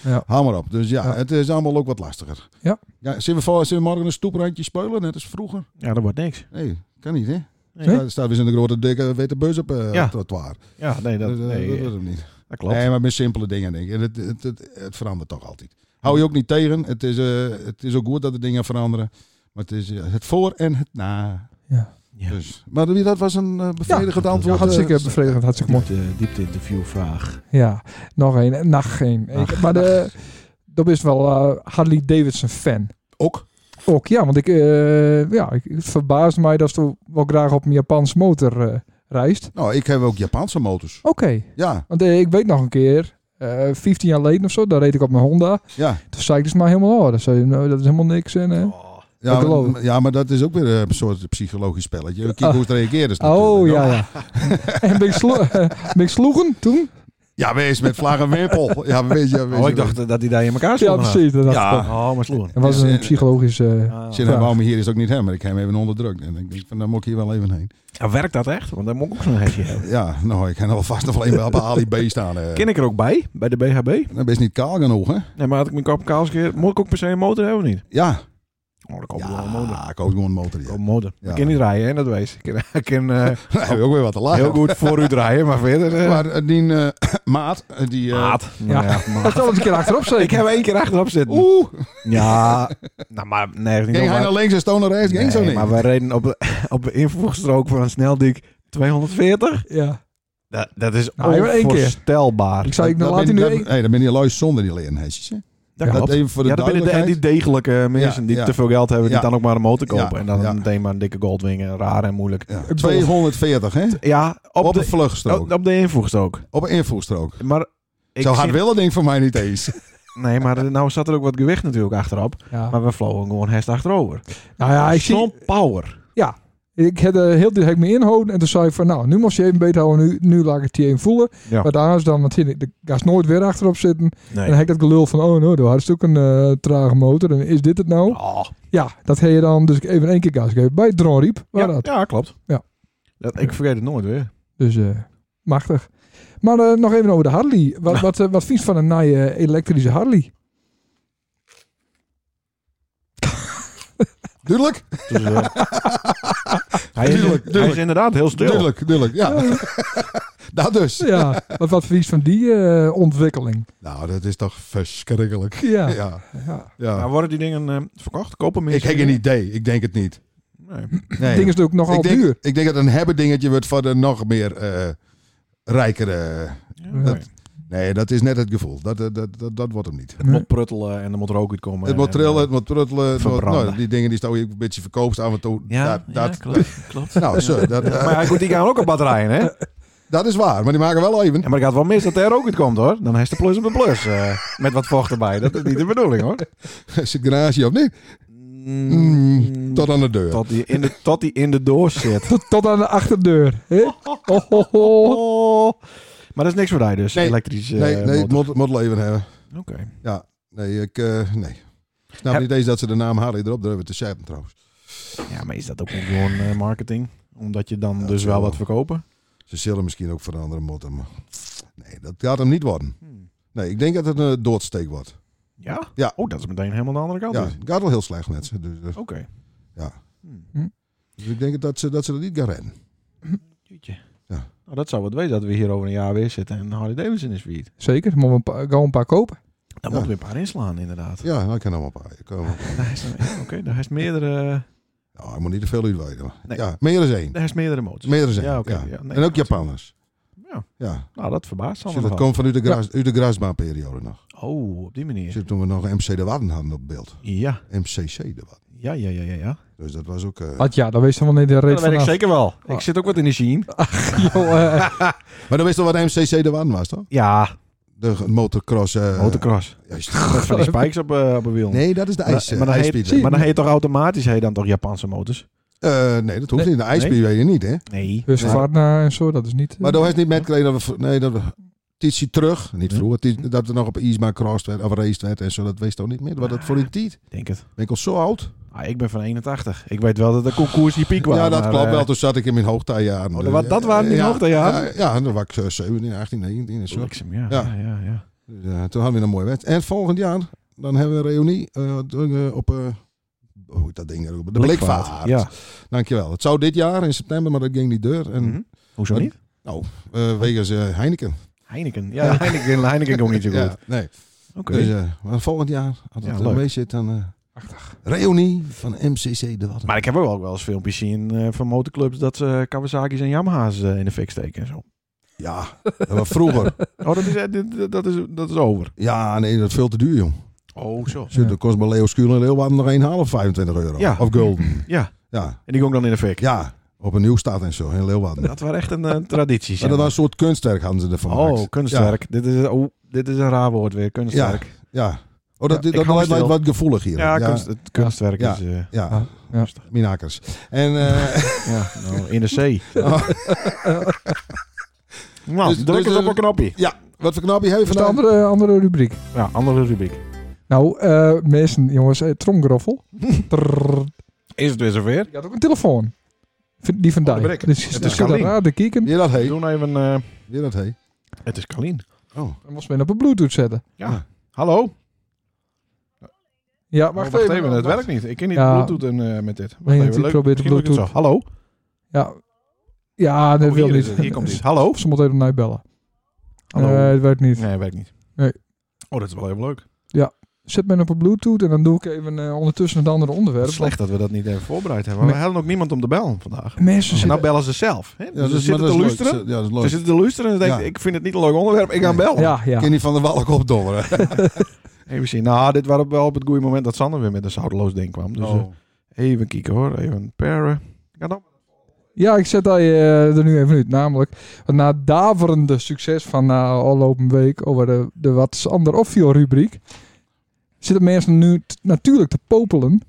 [SPEAKER 2] Ja.
[SPEAKER 3] Hou maar op. Dus ja,
[SPEAKER 2] Ja.
[SPEAKER 3] het is allemaal ook wat lastiger.
[SPEAKER 2] Ja.
[SPEAKER 3] zullen, we, voor- zullen we morgen een stoeprandje spelen, net als vroeger?
[SPEAKER 1] ja, dat wordt niks.
[SPEAKER 3] Nee, kan niet, hè?
[SPEAKER 1] Nee.
[SPEAKER 3] Staat- staat weer zo'n grote, dikke witte bus op eh,
[SPEAKER 1] Ja.
[SPEAKER 3] het trottoir.
[SPEAKER 1] Ja, nee, dat,
[SPEAKER 3] Dus, eh,
[SPEAKER 1] nee,
[SPEAKER 3] dat wordt hem niet.
[SPEAKER 1] dat klopt.
[SPEAKER 3] Nee, maar met simpele dingen, denk ik. En Het, het, het, het verandert toch altijd. Hou je ook niet tegen. Het is, eh, het is ook goed dat de dingen veranderen. Maar het is eh, het voor en het na.
[SPEAKER 2] Ja.
[SPEAKER 1] Ja.
[SPEAKER 3] Dus. Maar wie- dat was een eh, bevredigend
[SPEAKER 1] Ja,
[SPEAKER 3] antwoord.
[SPEAKER 2] Ja, hartstikke
[SPEAKER 3] eh,
[SPEAKER 2] bevredigend, hartstikke mooi.
[SPEAKER 1] Diepte, diepte interviewvraag.
[SPEAKER 2] Ja, nog één. eh, Nacht geen. Ik- maar de, dat is wel eh, Harley Davidson fan.
[SPEAKER 3] ook.
[SPEAKER 2] Ook ja, want ik, eh, ja, ik, het verbaast mij dat ze wel graag op een Japanse motor eh, reist.
[SPEAKER 3] Nou, ik heb ook Japanse motors.
[SPEAKER 2] Oké,
[SPEAKER 3] Ja,
[SPEAKER 2] want eh, ik weet nog een keer, eh 15 jaar geleden of zo, daar reed ik op mijn Honda.
[SPEAKER 3] ja.
[SPEAKER 2] Toen zei ik dus maar helemaal, oh, dat, zei, je, nou, dat is helemaal niks. En,
[SPEAKER 1] Oh,
[SPEAKER 2] eh,
[SPEAKER 3] Ja,
[SPEAKER 2] Dat geloof
[SPEAKER 3] maar, ja, maar dat is ook weer eh, een soort psychologisch spelletje. Kijk
[SPEAKER 2] Ah.
[SPEAKER 3] hoe het reageren ze
[SPEAKER 2] Oh
[SPEAKER 3] natuurlijk,
[SPEAKER 2] ja,
[SPEAKER 3] hoor.
[SPEAKER 2] ja. en ben ik, slo- eh, ben ik sloegen toen?
[SPEAKER 3] Ja, wees met vlag en wimpel. Ja, wees, ja, wees,
[SPEAKER 1] Oh, ik dacht dat hij daar in elkaar
[SPEAKER 2] Ja,
[SPEAKER 1] sloeg. nou.
[SPEAKER 2] precies. Dat dacht ik ook.
[SPEAKER 3] Ja,
[SPEAKER 1] Oh, maar sloeg
[SPEAKER 2] Het was
[SPEAKER 3] Dus,
[SPEAKER 2] een
[SPEAKER 3] eh,
[SPEAKER 2] psychologisch... eh,
[SPEAKER 1] Ah.
[SPEAKER 3] zin en waarom hier is ook niet hem, maar ik heb hem even onderdrukt. En ik denk van, dan moet ik hier wel even heen.
[SPEAKER 1] Ja, werkt dat echt? Want dan moet ik ook zo'n hesje hebben.
[SPEAKER 3] Ja, nou, ik kan alvast nog wel even op Ali B staan. eh.
[SPEAKER 1] Ken ik er ook bij, bij de BHB?
[SPEAKER 3] Dan ben je niet kaal genoeg, hè?
[SPEAKER 1] Nee, maar had ik mijn kop kaal keer. Moet ik ook per se een motor hebben of niet?
[SPEAKER 3] Ja.
[SPEAKER 1] Oh, dan koop ik wel een motor.
[SPEAKER 3] Ja, ik koop gewoon een motor.
[SPEAKER 1] Ik
[SPEAKER 3] Ja.
[SPEAKER 1] koop een motor.
[SPEAKER 3] Ja.
[SPEAKER 1] Ik kan niet rijden, hè, dat weet ik. Ik kan- Ik kan eh,
[SPEAKER 3] Nou, heb je ook weer wat te lachen.
[SPEAKER 1] heel goed voor u draaien, maar verder... eh,
[SPEAKER 3] Maar eh, die eh, maat, eh, die... eh,
[SPEAKER 1] maat. Nou ja, maat.
[SPEAKER 2] Dat zal eens een keer achterop zeker.
[SPEAKER 1] Ik heb één keer achterop zitten.
[SPEAKER 3] Oeh,
[SPEAKER 1] Ja, nou maar nee, dat is niet
[SPEAKER 3] ging
[SPEAKER 1] normaal.
[SPEAKER 3] hij naar links en stoon naar rechts? Ging zo
[SPEAKER 1] Nee,
[SPEAKER 3] niet.
[SPEAKER 1] maar we reden op, op de invoegstrook van een sneldik 240.
[SPEAKER 2] Ja.
[SPEAKER 1] Dat, dat is
[SPEAKER 3] Ah,
[SPEAKER 2] Nou, maar één keer.
[SPEAKER 1] onvoorstelbaar.
[SPEAKER 2] Ik zou ik
[SPEAKER 3] Dat
[SPEAKER 2] nou laat
[SPEAKER 3] ben-
[SPEAKER 2] hij nu...
[SPEAKER 3] dat-
[SPEAKER 2] één-
[SPEAKER 3] hey, dan ben je lui zonder die leerhesjes, hè?
[SPEAKER 1] dat
[SPEAKER 3] Dat
[SPEAKER 1] klopt.
[SPEAKER 3] even voor de
[SPEAKER 1] ja, dat binnen de, en die
[SPEAKER 3] duidelijkheid.
[SPEAKER 1] degelijke mensen
[SPEAKER 3] Ja,
[SPEAKER 1] die
[SPEAKER 3] ja.
[SPEAKER 1] te veel geld hebben, die
[SPEAKER 3] Ja.
[SPEAKER 1] dan ook maar een motor kopen.
[SPEAKER 3] Ja,
[SPEAKER 1] en dan
[SPEAKER 3] ja.
[SPEAKER 1] meteen maar een dikke Goldwing, en raar en moeilijk.
[SPEAKER 3] Ja, 240, hè?
[SPEAKER 1] Ja, op,
[SPEAKER 3] Op, een
[SPEAKER 1] de,
[SPEAKER 3] vluchtstrook.
[SPEAKER 1] op, op de invoegstrook.
[SPEAKER 3] Op een invoerstrook.
[SPEAKER 1] Maar ik
[SPEAKER 3] Zo hard
[SPEAKER 1] zit-
[SPEAKER 3] willen ding voor mij niet eens.
[SPEAKER 1] Nee, maar er- nou zat er ook wat gewicht natuurlijk achterop.
[SPEAKER 2] Ja.
[SPEAKER 1] Maar we vlogen gewoon hest achterover.
[SPEAKER 2] Nou ja, ik zie...
[SPEAKER 1] Zo'n power.
[SPEAKER 2] Ik heb eh, heel direct me inhouden en toen zei ik van nou, nu moest je even beter houden, nu, nu laat ik het je even voelen.
[SPEAKER 1] Ja.
[SPEAKER 2] Maar daarnaast dan, want hier, de gas nooit weer achterop zitten. En dan
[SPEAKER 1] Nee.
[SPEAKER 2] heb ik dat gelul van oh no, dat had ook een eh, trage motor en is dit het nou?
[SPEAKER 1] Oh.
[SPEAKER 2] Ja, dat heb je dan dus even één keer gas gegeven bij het dronriep, waar
[SPEAKER 1] Ja,
[SPEAKER 2] dat.
[SPEAKER 1] ja, klopt.
[SPEAKER 2] Ja.
[SPEAKER 1] Dat, ik vergeet het nooit weer.
[SPEAKER 2] Dus eh, machtig. Maar eh, nog even over de Harley. Wat, wat, eh, wat vind je van een nieuwe eh, elektrische Harley?
[SPEAKER 3] Duidelijk?
[SPEAKER 1] Dus, eh, hij, is, hij
[SPEAKER 3] Tuurlijk,
[SPEAKER 1] is
[SPEAKER 3] tuurlijk.
[SPEAKER 1] inderdaad heel stil.
[SPEAKER 3] Duidelijk, duidelijk. Ja. Dat dus.
[SPEAKER 2] Ja, wat, wat vies van die eh, ontwikkeling.
[SPEAKER 3] Nou, dat is toch verschrikkelijk.
[SPEAKER 2] Ja. ja.
[SPEAKER 3] Ja. ja.
[SPEAKER 1] Maar worden die dingen eh, verkocht? Kopen
[SPEAKER 3] ik
[SPEAKER 1] mensen?
[SPEAKER 3] heb geen idee. Ik denk het niet.
[SPEAKER 1] Nee.
[SPEAKER 3] Nee.
[SPEAKER 2] Het ding is natuurlijk nogal
[SPEAKER 3] ik, denk,
[SPEAKER 2] duur.
[SPEAKER 3] ik denk dat een hebben dingetje wordt voor de nog meer eh, rijkere...
[SPEAKER 1] Ja,
[SPEAKER 2] Dat-
[SPEAKER 1] nee.
[SPEAKER 3] Nee, dat is net het gevoel. Dat, dat, dat, dat, dat wordt hem niet.
[SPEAKER 1] Het moet pruttelen en er moet rook uitkomen.
[SPEAKER 3] het
[SPEAKER 1] en,
[SPEAKER 3] moet trillen,
[SPEAKER 1] eh,
[SPEAKER 3] het moet pruttelen. het moet-
[SPEAKER 1] verbranden.
[SPEAKER 3] nou, die dingen die staan je een beetje verkoopt af en toe.
[SPEAKER 1] Ja,
[SPEAKER 3] dat, dat,
[SPEAKER 1] ja, klopt. klopt.
[SPEAKER 3] Nou, zo, dat, eh,
[SPEAKER 1] Maar ja, goed, die gaan ook op batterijen, hè?
[SPEAKER 3] dat is waar. Maar die maken wel even.
[SPEAKER 1] Ja, maar het gaat wel mis dat er ook het komt, hoor. Dan is de plus op de plus. eh, met wat vocht erbij. Dat is niet de bedoeling, hoor.
[SPEAKER 3] Is het garage of niet? Mm, tot aan de deur.
[SPEAKER 1] Tot die in de, tot die in de doos zit.
[SPEAKER 2] Tot, tot aan de achterdeur. hè? Ho, ho, ho.
[SPEAKER 1] Oh. Maar dat is niks voor hij dus,
[SPEAKER 3] Nee.
[SPEAKER 1] elektrisch eh,
[SPEAKER 3] nee, nee, het
[SPEAKER 1] motor.
[SPEAKER 3] moet, moet leven hebben.
[SPEAKER 1] Oké.
[SPEAKER 3] Nee, ik, eh, nee. Ik snap
[SPEAKER 1] Heb-
[SPEAKER 3] niet eens dat ze de naam Harley erop durven te zetten trouwens.
[SPEAKER 1] Ja, maar is dat ook niet gewoon eh, marketing? Omdat je dan
[SPEAKER 3] Ja,
[SPEAKER 1] dus
[SPEAKER 3] zo.
[SPEAKER 1] wel wat verkopen?
[SPEAKER 3] Ze zullen misschien ook veranderen moeten, maar... Nee, dat gaat hem niet worden. Nee, ik denk dat het een doodsteek wordt.
[SPEAKER 1] Ja?
[SPEAKER 3] Hmm. Ja.
[SPEAKER 1] Oh, dat is meteen helemaal de andere kant.
[SPEAKER 3] Ja,
[SPEAKER 1] dus.
[SPEAKER 3] het gaat wel heel slecht met ze. Dus, eh,
[SPEAKER 1] Oké.
[SPEAKER 3] Ja.
[SPEAKER 1] Hmm.
[SPEAKER 3] dus ik denk dat ze dat, ze dat niet gaan redden.
[SPEAKER 1] Jeetje.
[SPEAKER 3] Ja.
[SPEAKER 1] Nou, dat zou wat wezen dat we hier over een jaar weer zitten en Harley Davidson is failliet.
[SPEAKER 2] Zeker, maar we een paar- gaan een paar kopen.
[SPEAKER 1] Dan
[SPEAKER 3] Ja.
[SPEAKER 1] moeten we een paar inslaan, inderdaad.
[SPEAKER 3] Ja, nou, ik kan hem op. Ik kan hem op.
[SPEAKER 1] Daar is, ja, Oké, daar is meerdere,
[SPEAKER 3] Nou, ik moet niet te veel uitweiden. maar-
[SPEAKER 1] Nee.
[SPEAKER 3] Ja, meer dan één.
[SPEAKER 1] daar is meerdere motors.
[SPEAKER 3] Meer dan één.
[SPEAKER 1] Ja, oké.
[SPEAKER 3] Dus ja.
[SPEAKER 1] ja, nee,
[SPEAKER 3] en ook
[SPEAKER 1] goed.
[SPEAKER 3] Japanners.
[SPEAKER 1] Ja.
[SPEAKER 3] Ja,
[SPEAKER 1] Nou, dat verbaast
[SPEAKER 3] Zie,
[SPEAKER 1] allemaal.
[SPEAKER 3] dat komt vanuit de, gras, uit de grasbaanperiode nog.
[SPEAKER 1] Oh, op die manier.
[SPEAKER 3] Zie, Toen we nog MC de Wadden hadden op beeld.
[SPEAKER 1] Ja,
[SPEAKER 3] MCC de Wadden.
[SPEAKER 1] ja, ja, ja, ja. ja.
[SPEAKER 3] Dus dat was ook... eh,
[SPEAKER 2] Had ja, dan wees helemaal niet de reet
[SPEAKER 1] dat weet ik
[SPEAKER 2] vanaf.
[SPEAKER 1] zeker wel.
[SPEAKER 2] Ah.
[SPEAKER 1] Ik zit ook wat in de scene.
[SPEAKER 2] Joh, eh,
[SPEAKER 3] Maar dan wist je wat MCC de Wadden was, toch?
[SPEAKER 1] Ja,
[SPEAKER 3] De motocross... eh,
[SPEAKER 1] motocross.
[SPEAKER 3] juist.
[SPEAKER 1] Met van die spikes op, eh, op een wiel.
[SPEAKER 3] nee, dat is de ijs, eh,
[SPEAKER 1] maar, maar, dan heet,
[SPEAKER 3] ijsspeedway.
[SPEAKER 1] maar dan heet toch automatisch heet dan toch Japanse motors?
[SPEAKER 3] Eh, nee, dat hoeft
[SPEAKER 2] Nee.
[SPEAKER 3] niet. De ijspeedway je niet, hè?
[SPEAKER 1] Nee.
[SPEAKER 2] dus
[SPEAKER 3] Ja.
[SPEAKER 2] Varna en zo, dat is niet... eh,
[SPEAKER 3] Maar daar heeft niet met gekregen dat we... v- Nee, dat we... Titie terug, niet
[SPEAKER 1] Ja.
[SPEAKER 3] vroeger, tit- dat we nog op IJsma crossed werd, of raced werd en zo, dat wees toch niet meer. Wat dat voor die tijd?
[SPEAKER 1] Ik denk het.
[SPEAKER 3] Ben ik al zo oud?
[SPEAKER 1] Ah, ik ben van 81. Ik weet wel dat de koers die piek was.
[SPEAKER 3] ja, dat
[SPEAKER 1] maar,
[SPEAKER 3] klopt
[SPEAKER 1] eh,
[SPEAKER 3] wel. Toen zat ik in mijn hoogtijjaren.
[SPEAKER 1] Oh, dat wa- dat waren die
[SPEAKER 3] ja,
[SPEAKER 1] hoogtijjaren?
[SPEAKER 3] Ja, ja, dan was ik eh, 17, 18, 19 en zo.
[SPEAKER 1] bliksem, ja.
[SPEAKER 3] Ja.
[SPEAKER 1] Ja, ja, ja.
[SPEAKER 3] Dus, eh, toen hadden we een mooie wedstrijd. En volgend jaar, dan hebben we een reunie eh, d- eh, op... eh, hoe heet dat ding? er ook? De blikvaart.
[SPEAKER 1] Ja.
[SPEAKER 3] Dankjewel. Het zou dit jaar in september, maar dat ging niet deur. En
[SPEAKER 1] Mhm. Hoezo
[SPEAKER 3] Wat?
[SPEAKER 1] niet?
[SPEAKER 3] eh, wegens eh, Heineken.
[SPEAKER 1] Heineken. Ja, Heineken, Heineken komt niet zo goed.
[SPEAKER 3] Ja, nee.
[SPEAKER 1] Oké.
[SPEAKER 3] Dus eh, maar volgend jaar, als
[SPEAKER 1] Ja,
[SPEAKER 3] het
[SPEAKER 1] leuk.
[SPEAKER 3] er mee zit, dan... eh Reunie van MCC de Wadden.
[SPEAKER 1] Maar ik heb ook wel eens filmpjes zien eh, van motorclubs dat ze eh, Kawasaki's en Yamaha's eh, in de fik steken en zo.
[SPEAKER 3] Ja, dat was vroeger.
[SPEAKER 1] Oh, dat is, eh, dit- dit- dat is, dat is over.
[SPEAKER 3] Ja, nee, dat is veel te duur, jong.
[SPEAKER 1] Oh, zo.
[SPEAKER 3] Zo, Dat kost bij Leo Skuul en Leeuwarden nog een half 25 euro.
[SPEAKER 1] Ja.
[SPEAKER 3] Of gulden.
[SPEAKER 1] Ja,
[SPEAKER 3] Ja.
[SPEAKER 1] en die ging dan in de fik.
[SPEAKER 3] ja, op een nieuw staat en zo in Leeuwarden.
[SPEAKER 1] Dat was echt een eh, traditie.
[SPEAKER 3] Maar
[SPEAKER 1] zeg
[SPEAKER 3] dat was
[SPEAKER 1] maar.
[SPEAKER 3] een soort kunstwerk hadden ze ervan
[SPEAKER 1] Oh,
[SPEAKER 3] gemaakt.
[SPEAKER 1] kunstwerk. Dit, is, oh, dit is een raar woord weer, kunstwerk.
[SPEAKER 3] Ja, ja. Oh, dat,
[SPEAKER 1] Ja, ik
[SPEAKER 3] dat
[SPEAKER 1] hou
[SPEAKER 3] lijkt
[SPEAKER 1] stil.
[SPEAKER 3] wat gevoelig hier.
[SPEAKER 1] Ja, kunst- het kunstwerk
[SPEAKER 3] Ja.
[SPEAKER 1] is... eh,
[SPEAKER 3] Ja,
[SPEAKER 1] rustig.
[SPEAKER 3] minakers. En eh,
[SPEAKER 1] ja, nou, in de zee.
[SPEAKER 3] Oh.
[SPEAKER 1] Nou,
[SPEAKER 3] Dus-
[SPEAKER 1] druk
[SPEAKER 3] dus,
[SPEAKER 1] eens op
[SPEAKER 3] eh,
[SPEAKER 1] een knopje.
[SPEAKER 3] wat voor knapje heeft
[SPEAKER 2] dat is de
[SPEAKER 3] vandaag?
[SPEAKER 2] andere, eh, andere rubriek.
[SPEAKER 1] Ja, andere rubriek.
[SPEAKER 2] Nou, eh, mensen, jongens, eh, tromgroffel. Trrr.
[SPEAKER 1] Is het weer zover?
[SPEAKER 2] Die had ook een telefoon. V- Die van
[SPEAKER 1] Oh, de
[SPEAKER 2] Dijk.
[SPEAKER 1] Brek.
[SPEAKER 2] Dus
[SPEAKER 1] Het
[SPEAKER 2] dat
[SPEAKER 1] is
[SPEAKER 2] zit
[SPEAKER 1] Carlien.
[SPEAKER 2] raar te kijken.
[SPEAKER 3] Weer dat
[SPEAKER 1] We
[SPEAKER 3] heen.
[SPEAKER 1] doen even... eh,
[SPEAKER 3] Weer dat heen.
[SPEAKER 1] het is Kalien.
[SPEAKER 3] Oh,
[SPEAKER 2] Dan moest men op een bluetooth zetten.
[SPEAKER 1] Hallo?
[SPEAKER 2] Ja,
[SPEAKER 1] Oh, Wacht,
[SPEAKER 2] wacht,
[SPEAKER 1] wacht even,
[SPEAKER 2] even.
[SPEAKER 1] het werkt niet. Ik ken niet
[SPEAKER 2] Ja.
[SPEAKER 1] Bluetooth en, eh, met dit. Wacht
[SPEAKER 2] Nee,
[SPEAKER 1] even,
[SPEAKER 2] die
[SPEAKER 1] leuk.
[SPEAKER 2] probeert de
[SPEAKER 1] Misschien lukt het
[SPEAKER 2] Bluetooth.
[SPEAKER 1] zo. Hallo?
[SPEAKER 2] Ja, ja dat
[SPEAKER 1] Oh,
[SPEAKER 2] wil
[SPEAKER 1] hier is
[SPEAKER 2] niet.
[SPEAKER 1] het. Hier komt hij. Hallo?
[SPEAKER 2] Ze moet even naar bellen.
[SPEAKER 1] Hallo?
[SPEAKER 2] Eh, het werkt niet.
[SPEAKER 1] Nee, werkt niet.
[SPEAKER 2] Nee.
[SPEAKER 1] Oh, dat is wel heel leuk.
[SPEAKER 2] Zet men op een bluetooth en dan doe ik even eh, ondertussen het andere onderwerp.
[SPEAKER 1] Wat slecht dat we dat niet even voorbereid hebben. Maar we hadden ook niemand om te bellen vandaag.
[SPEAKER 2] Want Mensen
[SPEAKER 1] En
[SPEAKER 2] zitten...
[SPEAKER 1] nou bellen ze zelf. Hè?
[SPEAKER 3] ja,
[SPEAKER 1] dus ze
[SPEAKER 3] maar
[SPEAKER 1] zitten
[SPEAKER 3] dat
[SPEAKER 1] te
[SPEAKER 3] is leuk.
[SPEAKER 1] luisteren.
[SPEAKER 3] Ze- Ja, dat is
[SPEAKER 1] Ze
[SPEAKER 3] leuk.
[SPEAKER 1] zitten te luisteren en ze denken,
[SPEAKER 3] Ja.
[SPEAKER 1] ik vind het niet een leuk onderwerp, ik ga
[SPEAKER 3] Nee.
[SPEAKER 1] bellen.
[SPEAKER 2] ja, ja.
[SPEAKER 3] Kenny van der Walk opdommeren.
[SPEAKER 1] Even zien. Nou, dit was wel op het goede moment dat Sander weer met een zoutloos ding kwam. Dus eh,
[SPEAKER 3] Oh.
[SPEAKER 1] even kijken hoor, even paren. Oh, Ja, dan.
[SPEAKER 2] Ja, ik zet hij eh, er nu even uit. Namelijk, na het daverende succes van na afgelopen week over de, de Wat Sander Opviel rubriek, zitten mensen nu t- natuurlijk te popelen.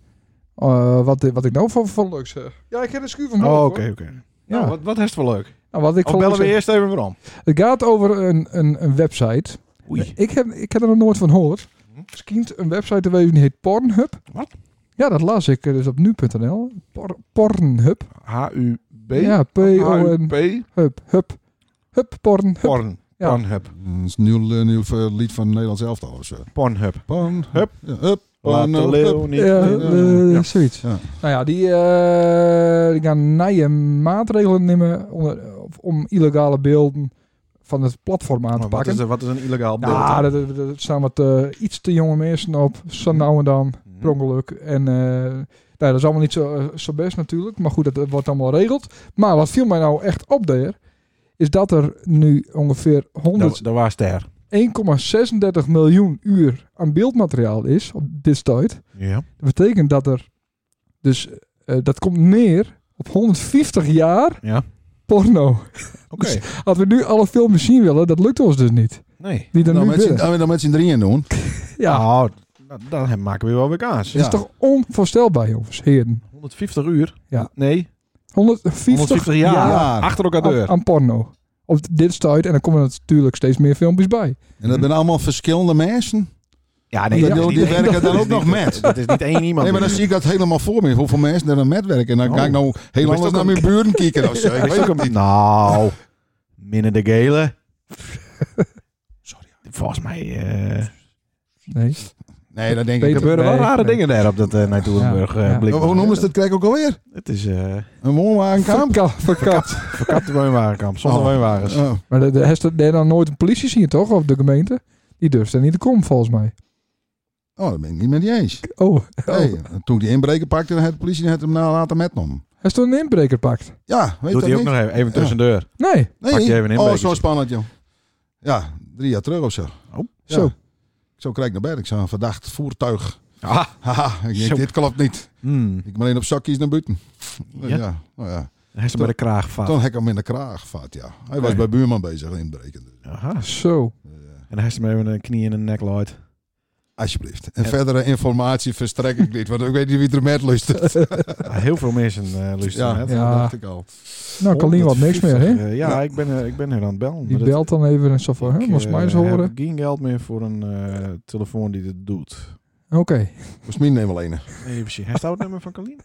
[SPEAKER 2] eh, wat, wat ik nou voor, voor leuk zeg. Ja, ik heb een schuur van
[SPEAKER 1] Oh,
[SPEAKER 2] boven,
[SPEAKER 1] oké,
[SPEAKER 2] hoor.
[SPEAKER 1] oké.
[SPEAKER 2] Ja.
[SPEAKER 1] Nou, wat, wat is het voor leuk?
[SPEAKER 2] Nou, wat ik
[SPEAKER 1] Of
[SPEAKER 2] voor
[SPEAKER 1] bellen
[SPEAKER 2] leuk
[SPEAKER 1] we
[SPEAKER 2] zeg.
[SPEAKER 1] eerst even weer om.
[SPEAKER 2] Het gaat over een, een, een website.
[SPEAKER 1] Oei.
[SPEAKER 2] Ik heb, ik heb er nog nooit van gehoord. Het schijnt een website te wezen die heet Pornhub.
[SPEAKER 1] Mhm. Wat?
[SPEAKER 2] Ja, dat las ik eh, dus op nu.nl. Por- Pornhub.
[SPEAKER 1] H-U-B?
[SPEAKER 2] Ja, P-O-N.
[SPEAKER 1] P?
[SPEAKER 2] Hub. Hub. Hub. Pornhub.
[SPEAKER 1] Porn.
[SPEAKER 2] Ja.
[SPEAKER 1] Pornhub.
[SPEAKER 3] Dat is een nieuw, eh, nieuw eh, lied van Nederlands Elftal. of zo.
[SPEAKER 1] Pornhub.
[SPEAKER 3] Pan,
[SPEAKER 1] Hup.
[SPEAKER 3] ja, hup,
[SPEAKER 1] Laat
[SPEAKER 3] pan,
[SPEAKER 1] de
[SPEAKER 3] hup,
[SPEAKER 1] leeuw
[SPEAKER 3] hup.
[SPEAKER 1] niet...
[SPEAKER 2] ja,
[SPEAKER 1] Nee,
[SPEAKER 3] ja,
[SPEAKER 2] eh,
[SPEAKER 1] ja.
[SPEAKER 2] zoiets.
[SPEAKER 3] Ja.
[SPEAKER 2] Nou ja, die, eh, die gaan nieuwe maatregelen nemen onder- om illegale beelden van het platform aan te
[SPEAKER 1] Maar wat,
[SPEAKER 2] pakken. Nou,
[SPEAKER 1] is, er- wat is een illegaal beeld?
[SPEAKER 2] Ja,
[SPEAKER 1] dan?
[SPEAKER 2] daar daar- daar staan wat eh, iets te jonge mensen op. Zo nou en dan,
[SPEAKER 1] Mhm.
[SPEAKER 2] per ongeluk. En eh, nou, dat is allemaal niet zo, eh, zo best natuurlijk. Maar goed, dat eh, wordt allemaal geregeld. Maar wat viel mij nou echt op daar... is dat er nu ongeveer 100
[SPEAKER 1] Dat, dat was ter.
[SPEAKER 2] 1,36 miljoen uur aan beeldmateriaal is op dit tijd.
[SPEAKER 1] Ja.
[SPEAKER 2] Dat betekent dat er dus eh, dat komt neer op 150 jaar
[SPEAKER 1] Ja.
[SPEAKER 2] porno.
[SPEAKER 1] Oké.
[SPEAKER 2] Als we nu alle films zien willen, dat lukt ons dus niet.
[SPEAKER 1] Dus- Nee.
[SPEAKER 2] Die dan
[SPEAKER 3] Dan
[SPEAKER 2] nu
[SPEAKER 3] Nou, met z'n-
[SPEAKER 2] willen.
[SPEAKER 3] dan met- dan met z'n drieën doen.
[SPEAKER 2] Ja,
[SPEAKER 3] Ah,
[SPEAKER 1] Nou, dat, dat maken we wel weer kaas.
[SPEAKER 2] het is toch onvoorstelbaar, jongens, heren.
[SPEAKER 1] 150 uur?
[SPEAKER 2] Ja.
[SPEAKER 1] Nee,
[SPEAKER 2] 150,
[SPEAKER 1] 150 jaar. Oh,
[SPEAKER 3] jaar.
[SPEAKER 1] Achter elkaar
[SPEAKER 2] aan,
[SPEAKER 1] deur.
[SPEAKER 2] aan porno. Op dit tijd en dan komen er natuurlijk steeds meer filmpjes bij.
[SPEAKER 3] En
[SPEAKER 1] Mhm.
[SPEAKER 3] dat zijn allemaal verschillende mensen.
[SPEAKER 1] Ja,
[SPEAKER 3] Die-
[SPEAKER 1] Oh, dat is
[SPEAKER 3] die
[SPEAKER 1] niet-
[SPEAKER 3] werken
[SPEAKER 1] dat
[SPEAKER 3] dan
[SPEAKER 1] is
[SPEAKER 3] ook nog
[SPEAKER 1] niet-
[SPEAKER 3] met.
[SPEAKER 1] Dat is niet één iemand.
[SPEAKER 3] Nee, maar dan zie ik dat helemaal voor me. Hoeveel mensen er aan met werken. En dan
[SPEAKER 1] Oh.
[SPEAKER 3] ga ik nou heel
[SPEAKER 1] Wist
[SPEAKER 3] anders
[SPEAKER 1] ook
[SPEAKER 3] naar
[SPEAKER 1] een-
[SPEAKER 3] mijn buren kijken. Of zo. Ik
[SPEAKER 1] Is
[SPEAKER 3] weet
[SPEAKER 1] ook
[SPEAKER 3] het
[SPEAKER 1] een-
[SPEAKER 3] niet.
[SPEAKER 1] Nou, minder de gele. Sorry. Volgens mij eh,
[SPEAKER 2] Nee.
[SPEAKER 3] Nee, dat denk
[SPEAKER 2] Peter
[SPEAKER 3] ik. niet.
[SPEAKER 1] gebeuren wel
[SPEAKER 2] Nee,
[SPEAKER 1] rare
[SPEAKER 2] nee.
[SPEAKER 1] dingen daar op dat uh, Nijtoerenburg
[SPEAKER 2] Ja.
[SPEAKER 1] blik.
[SPEAKER 3] Hoe noemen ze dat krijg ik ook alweer?
[SPEAKER 1] Het is eh
[SPEAKER 3] Een woonwagenkamp?
[SPEAKER 2] Verka- verkapt.
[SPEAKER 1] verkapte woonwagenkamp, zonder
[SPEAKER 3] Oh.
[SPEAKER 1] woonwagens.
[SPEAKER 3] Oh.
[SPEAKER 2] Maar de- de- heeft er daar dan nooit een politie zien, toch? Of de gemeente? Die durft er niet te komen, volgens mij.
[SPEAKER 3] Oh, dat ben ik niet met je eens.
[SPEAKER 2] Oh, oh.
[SPEAKER 3] Nee, toen ik die inbreker pakte, dan had de politie het hem na laten metnomen.
[SPEAKER 2] heeft er een inbreker pakt?
[SPEAKER 3] Ja,
[SPEAKER 1] Doet
[SPEAKER 3] weet dat
[SPEAKER 1] hij ook
[SPEAKER 3] niet?
[SPEAKER 1] nog even, even tussendoor.
[SPEAKER 2] Nee.
[SPEAKER 3] Nee.
[SPEAKER 1] Pak je even een
[SPEAKER 3] Oh,
[SPEAKER 1] inbrekertje.
[SPEAKER 3] zo spannend, joh. Ja, drie jaar terug of zo. Ja.
[SPEAKER 2] Zo.
[SPEAKER 3] Zo krijg ik naar bed. Ik zag een verdacht voertuig.
[SPEAKER 1] Ah,
[SPEAKER 3] Haha, ik
[SPEAKER 1] Zo.
[SPEAKER 3] denk, dit klopt niet.
[SPEAKER 1] hmm.
[SPEAKER 3] Ik ben alleen op zakjes naar buiten.
[SPEAKER 1] Ja?
[SPEAKER 3] Ja? ja, nou ja.
[SPEAKER 1] Hij is er bij de kraag vast.
[SPEAKER 3] Toen heb ik hem in de kraag vat, ja. Hij was
[SPEAKER 1] Oké.
[SPEAKER 3] bij buurman bezig inbreken. Dus,
[SPEAKER 1] Aha.
[SPEAKER 2] Zo.
[SPEAKER 3] eh,
[SPEAKER 1] En hij is hem even een knie in een nek looit.
[SPEAKER 3] alsjeblieft. En
[SPEAKER 1] Ja.
[SPEAKER 3] verdere informatie verstrek ik niet, want ik weet niet wie er met lust.
[SPEAKER 1] Ah, heel veel mensen eh luisteren
[SPEAKER 3] Ja,
[SPEAKER 1] net.
[SPEAKER 3] dat
[SPEAKER 2] Ja.
[SPEAKER 3] dacht ik al.
[SPEAKER 2] Nou, Kalien wat niks meer, hè?
[SPEAKER 1] Eh, ja, ik ben, eh, ik ben hier aan het bellen.
[SPEAKER 2] Die
[SPEAKER 1] maar dat-
[SPEAKER 2] belt dan even en zo van, hè?
[SPEAKER 1] ik,
[SPEAKER 2] Moest
[SPEAKER 1] eh,
[SPEAKER 2] mij eens
[SPEAKER 1] heb
[SPEAKER 2] horen.
[SPEAKER 1] geen geld meer voor een eh, telefoon die dit doet.
[SPEAKER 2] Oké.
[SPEAKER 3] Volgens mij neem alleen.
[SPEAKER 1] Even zien. Hij staat het nummer van Kalien.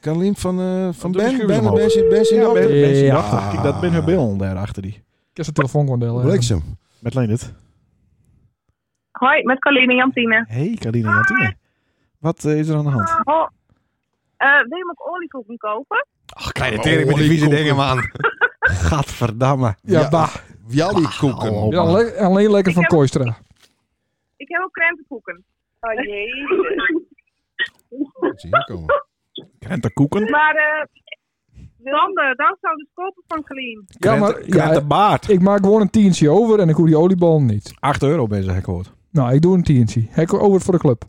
[SPEAKER 3] Carlien van, eh van
[SPEAKER 1] doe die
[SPEAKER 3] Ben.
[SPEAKER 1] schuur
[SPEAKER 3] Ben,
[SPEAKER 1] omhoog.
[SPEAKER 3] Ben, zit- Ben, zit
[SPEAKER 1] Ja,
[SPEAKER 3] ook-
[SPEAKER 1] ben, ben,
[SPEAKER 2] Ja.
[SPEAKER 1] dacht, kijk, dat ben haar bil daar achter die.
[SPEAKER 2] Ik heb zijn telefoon gewoon delen.
[SPEAKER 3] Bliksem.
[SPEAKER 1] Met Leendert.
[SPEAKER 5] Hoi, met Colleen en Jantine.
[SPEAKER 1] Hey, Kalien en Jantine. Wat eh, is er aan de hand?
[SPEAKER 5] Oh, eh, wil je me ook oliekoeken kopen?
[SPEAKER 1] Ach, kleine
[SPEAKER 3] tering met die vieze dingen,
[SPEAKER 1] man. Gadverdamme.
[SPEAKER 2] Ja,
[SPEAKER 3] Ja.
[SPEAKER 2] bah.
[SPEAKER 3] Jallykoeken.
[SPEAKER 1] Hallo.
[SPEAKER 2] Ja, alleen, alleen lekker van Kooistra.
[SPEAKER 5] Ik heb ook krentenkoeken. Oh jee.
[SPEAKER 3] Zie je komen.
[SPEAKER 1] Krentenkoeken?
[SPEAKER 5] maar eh Sander, dan zou dus kopen van Colleen.
[SPEAKER 2] Ja, maar ja,
[SPEAKER 1] Krentenbaard.
[SPEAKER 2] ik maak gewoon een tientje over en ik hoef die oliebal niet.
[SPEAKER 1] 8 euro bezig, ik hoort.
[SPEAKER 2] Nou, ik doe een tientje. Hek over voor de club.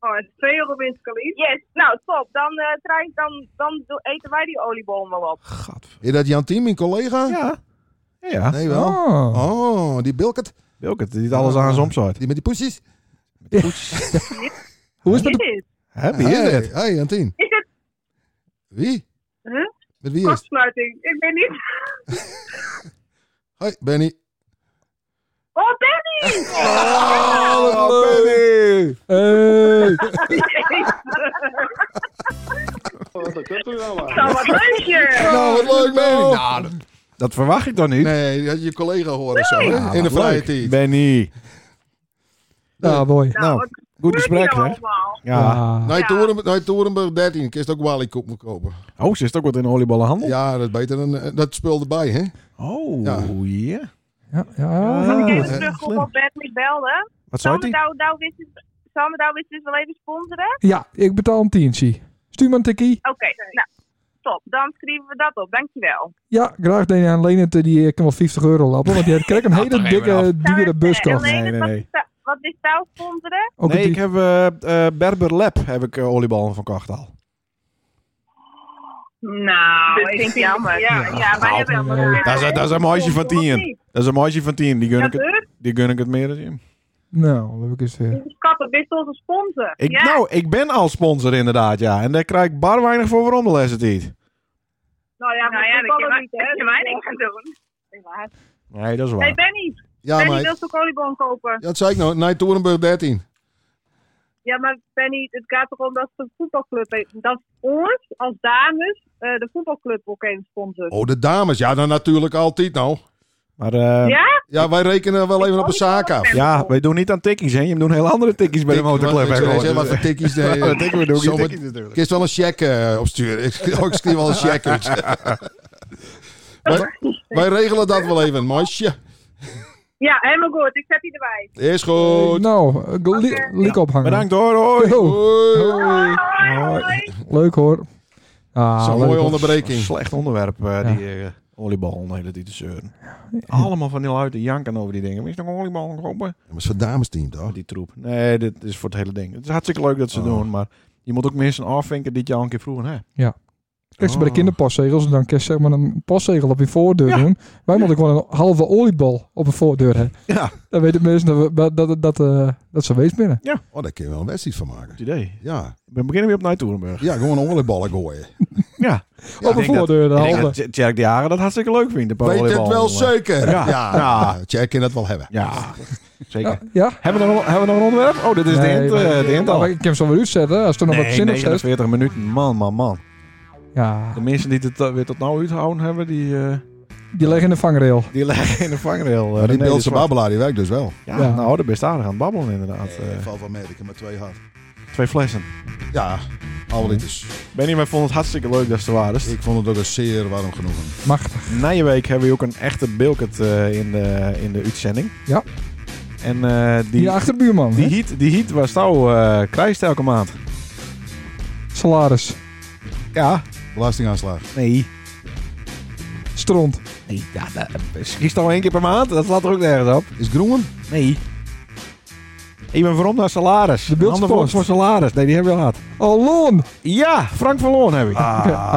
[SPEAKER 5] Oh, het is 2 euro winst, Colleen. Yes, nou top. Dan, eh, trein, dan, dan do- eten wij die oliebol wel op.
[SPEAKER 1] Gadver.
[SPEAKER 3] Is dat Jantien, mijn collega?
[SPEAKER 1] Ja. Ja, ja.
[SPEAKER 3] Nee wel.
[SPEAKER 2] Ah.
[SPEAKER 3] Oh, die Bilket,
[SPEAKER 1] Wilkert, die het alles aan zijn omzet.
[SPEAKER 3] die met die poesjes.
[SPEAKER 2] Hoe is dat?
[SPEAKER 5] Dit
[SPEAKER 2] de-
[SPEAKER 5] is.
[SPEAKER 1] Hè, wie is
[SPEAKER 3] hey,
[SPEAKER 1] dit?
[SPEAKER 3] hey, Jantien.
[SPEAKER 5] Is het
[SPEAKER 3] Wie?
[SPEAKER 5] Huh?
[SPEAKER 3] Met wie is het?
[SPEAKER 5] kortsluiting? Ik weet niet.
[SPEAKER 3] Hoi, Benny.
[SPEAKER 5] Oh, Benny!
[SPEAKER 3] Oh,
[SPEAKER 2] wat Hey.
[SPEAKER 5] nou, wat leukje!
[SPEAKER 3] Nou, wat leuk, Benny. Nou, dat-
[SPEAKER 1] Dat verwacht ik dan niet.
[SPEAKER 3] nee, dat had je collega horen zo, hè?
[SPEAKER 1] Ja,
[SPEAKER 3] In de
[SPEAKER 1] wat
[SPEAKER 3] vrije
[SPEAKER 1] leuk.
[SPEAKER 3] tijd.
[SPEAKER 1] Benny.
[SPEAKER 2] Ah, mooi.
[SPEAKER 1] Nou,
[SPEAKER 5] wat
[SPEAKER 1] goed
[SPEAKER 5] gebeurt
[SPEAKER 1] gesprek,
[SPEAKER 5] hier
[SPEAKER 1] hè?
[SPEAKER 5] allemaal?
[SPEAKER 1] Ja.
[SPEAKER 2] Ah.
[SPEAKER 3] Nee,
[SPEAKER 5] Ja.
[SPEAKER 3] Torenburg, nee, Torenburg 13. Kist ook Wallykoek moeten kopen.
[SPEAKER 1] Oh, ze is ook wat in de olieballenhandel.
[SPEAKER 3] Ja, dat is beter dan... eh, Dat spul erbij, hè?
[SPEAKER 1] Oh,
[SPEAKER 3] Ja.
[SPEAKER 1] ja.
[SPEAKER 2] Ja, ja.
[SPEAKER 5] Ik even
[SPEAKER 1] Ja,
[SPEAKER 5] terug
[SPEAKER 1] slim.
[SPEAKER 5] op op Benny belde.
[SPEAKER 1] Wat zou
[SPEAKER 5] Sander
[SPEAKER 1] die?
[SPEAKER 5] Douw, Douw wist het- Sander Douw wist dus wel even sponsoren.
[SPEAKER 2] ja, ik betaal een tientje. Stuur me een tikkie.
[SPEAKER 5] Oké, nou, top. Dan schrijven we dat op. Dankjewel.
[SPEAKER 2] Ja, graag deed aan Lenert, eh, die eh, kan wel 50 euro lappen. Want die krijgt een hele dikke, dure bus
[SPEAKER 5] Zou
[SPEAKER 2] kocht.
[SPEAKER 5] het, eh, alleen
[SPEAKER 1] Nee,
[SPEAKER 5] het
[SPEAKER 1] nee,
[SPEAKER 5] wat- Wat is Douw sponsoren?
[SPEAKER 2] Ook
[SPEAKER 1] nee,
[SPEAKER 2] een
[SPEAKER 1] ik
[SPEAKER 2] die-
[SPEAKER 1] heb eh, eh, Berber Lab heb ik eh, olieballen van kocht al.
[SPEAKER 5] Nou, ik vind het jammer. Ja, ja, wij
[SPEAKER 1] nou,
[SPEAKER 5] hebben
[SPEAKER 2] nee.
[SPEAKER 5] helemaal
[SPEAKER 1] Dat is, dat is een meisje van tien. Dat is een meisje van tien. Die gun ik het, die gun ik het meer dan Jim.
[SPEAKER 2] Nou, leuk is het weer.
[SPEAKER 5] Kappen, wist onze sponsor.
[SPEAKER 1] Ik,
[SPEAKER 5] ja.
[SPEAKER 1] Nou, ik ben al sponsor inderdaad, ja. En daar krijg ik bar weinig voor waarom de les het niet.
[SPEAKER 5] nou ja, nou, ja dat kan niet, hè? mij niks aan doen.
[SPEAKER 1] Nee, dat is
[SPEAKER 5] Hey
[SPEAKER 1] waar.
[SPEAKER 5] Benny,
[SPEAKER 3] Ja,
[SPEAKER 5] Benny
[SPEAKER 3] maar...
[SPEAKER 5] wil zo'n oliebon kopen.
[SPEAKER 3] Dat zei ik nou. Nee, Torenburg 13.
[SPEAKER 5] Ja, maar Benny, het gaat erom dat de voetbalclub, heeft- dat ons als dames eh, de voetbalclub ook even sponsort.
[SPEAKER 3] Oh, de dames. Ja, dan natuurlijk altijd nou.
[SPEAKER 1] Maar eh, ja.
[SPEAKER 5] Ja?
[SPEAKER 3] Ja, wij rekenen wel even op een zaak af.
[SPEAKER 1] wij doen niet aan tikkies, hè. Je doet heel andere tikkies bij de
[SPEAKER 3] Tik-
[SPEAKER 1] motorclub.
[SPEAKER 3] Ik
[SPEAKER 1] hè,
[SPEAKER 3] zou
[SPEAKER 1] gewoon.
[SPEAKER 3] zeggen, wat voor tikkies. nee.
[SPEAKER 1] Wat tikken we doen?
[SPEAKER 3] Zo met-
[SPEAKER 1] Tikkies natuurlijk.
[SPEAKER 3] Ik is wel een check eh, opsturen. Ik, ik schreef wel een check uit. maar, Wij regelen dat wel even, meisje.
[SPEAKER 5] Ja, helemaal goed. Ik zet die erbij.
[SPEAKER 3] Is goed.
[SPEAKER 2] Nou, eh, li-
[SPEAKER 5] Oké.
[SPEAKER 2] liek ophangen.
[SPEAKER 1] Bedankt hoor, hoi.
[SPEAKER 2] Yo,
[SPEAKER 1] Nou.
[SPEAKER 3] Hoi.
[SPEAKER 2] hoi.
[SPEAKER 5] Hoi.
[SPEAKER 1] Hoi.
[SPEAKER 2] Leuk hoor. Ah,
[SPEAKER 1] Nou,
[SPEAKER 3] Zo'n
[SPEAKER 2] leuk,
[SPEAKER 3] mooie
[SPEAKER 2] hoor.
[SPEAKER 1] Een
[SPEAKER 3] onderbreking.
[SPEAKER 1] slecht onderwerp, eh,
[SPEAKER 2] Ja.
[SPEAKER 1] die eh, oliebollen, de hele tijd te zeuren. Allemaal van die lui te janken over die dingen. Is nog een oliebal kopen?
[SPEAKER 3] Maar zo'n damesteam toch?
[SPEAKER 1] Oh, die troep. Nee, dit is voor het hele ding. Het is hartstikke leuk dat ze
[SPEAKER 3] Oh.
[SPEAKER 1] doen, maar je moet ook mensen afvinken dit je al een keer vroegen. Hè?
[SPEAKER 2] Kijk ze bij de
[SPEAKER 1] Oh.
[SPEAKER 2] kinderpostzegels en dan kun je zeg maar een postzegel op je voordeur
[SPEAKER 1] Ja.
[SPEAKER 2] doen. Wij moeten gewoon een halve oliebal op een voordeur hebben.
[SPEAKER 1] Ja,
[SPEAKER 2] Dan weten mensen dat, we, dat, dat, dat, eh, dat ze wees binnen.
[SPEAKER 3] Oh, daar kun je wel een wedstrijd van maken.
[SPEAKER 1] goed idee.
[SPEAKER 3] Ja,
[SPEAKER 1] We beginnen weer op Nijtoerenburg.
[SPEAKER 3] ja gewoon olieballen gooien.
[SPEAKER 1] Ja.
[SPEAKER 3] Ja,
[SPEAKER 2] op een
[SPEAKER 1] ik denk dat-
[SPEAKER 2] voordeur, de
[SPEAKER 1] Ik denk
[SPEAKER 2] halve.
[SPEAKER 1] dat Tjerk de Jaren dat hartstikke leuk vindt. een paar
[SPEAKER 3] Weet het
[SPEAKER 1] oliebollen.
[SPEAKER 3] wel zeker?
[SPEAKER 1] Ja.
[SPEAKER 3] Ja, ja. Jij kan dat wel hebben.
[SPEAKER 1] Ja, zeker.
[SPEAKER 2] Ja, Ah, ja.
[SPEAKER 1] Hebben, we nog, hebben we nog een onderwerp? Oh, dit is de
[SPEAKER 2] Nee,
[SPEAKER 1] hint,
[SPEAKER 2] maar-
[SPEAKER 1] eh, de hint al.
[SPEAKER 2] Maar ik kan hem zo weer uitzetten als er nog wat
[SPEAKER 1] Nee,
[SPEAKER 2] zin op zit.
[SPEAKER 1] 49 minuten. Man, man, man.
[SPEAKER 2] Ja,
[SPEAKER 1] De mensen die het eh, weer tot nu uithouden hebben, die, eh,
[SPEAKER 2] die liggen in de vangrail.
[SPEAKER 1] die liggen in de vangrail. eh,
[SPEAKER 3] Maar die
[SPEAKER 1] René de
[SPEAKER 3] Beeldse
[SPEAKER 1] Zwart.
[SPEAKER 3] babbelaar die werkt dus wel.
[SPEAKER 1] Ja,
[SPEAKER 2] Ja.
[SPEAKER 1] nou, daar ben je aardig aan het babbelen inderdaad.
[SPEAKER 3] Eh,
[SPEAKER 1] eh,
[SPEAKER 3] valt wel mee, ik heb maar twee hard.
[SPEAKER 1] twee flessen.
[SPEAKER 3] Ja, alle liters.
[SPEAKER 1] Benny, wij vonden het hartstikke leuk dat ze er waren.
[SPEAKER 3] Ik vond het ook een zeer warm genoegen.
[SPEAKER 2] Machtig.
[SPEAKER 1] Dus Na je week hebben we ook een echte Bilkert eh, in, de, in de uitzending.
[SPEAKER 2] Ja.
[SPEAKER 1] En eh, die,
[SPEAKER 2] Die achterbuurman.
[SPEAKER 1] die,
[SPEAKER 2] hè?
[SPEAKER 1] heat, die heat was nou eh krijgt elke maand.
[SPEAKER 2] Salaris.
[SPEAKER 1] Ja.
[SPEAKER 3] Belastingaanslag.
[SPEAKER 1] Nee.
[SPEAKER 2] Stront.
[SPEAKER 1] Nee, ja, dat, schiet nou één keer per maand? Dat slaat er ook nergens op.
[SPEAKER 3] Is groen?
[SPEAKER 1] Nee. Ik ben waarom naar salaris.
[SPEAKER 2] De Beeldse
[SPEAKER 1] Handen voor-
[SPEAKER 2] Post.
[SPEAKER 1] voor salaris. Nee, die hebben we al gehad.
[SPEAKER 2] Oh, loon.
[SPEAKER 1] Ja, Frank van Loon heb ik.
[SPEAKER 2] Ah,
[SPEAKER 1] ja,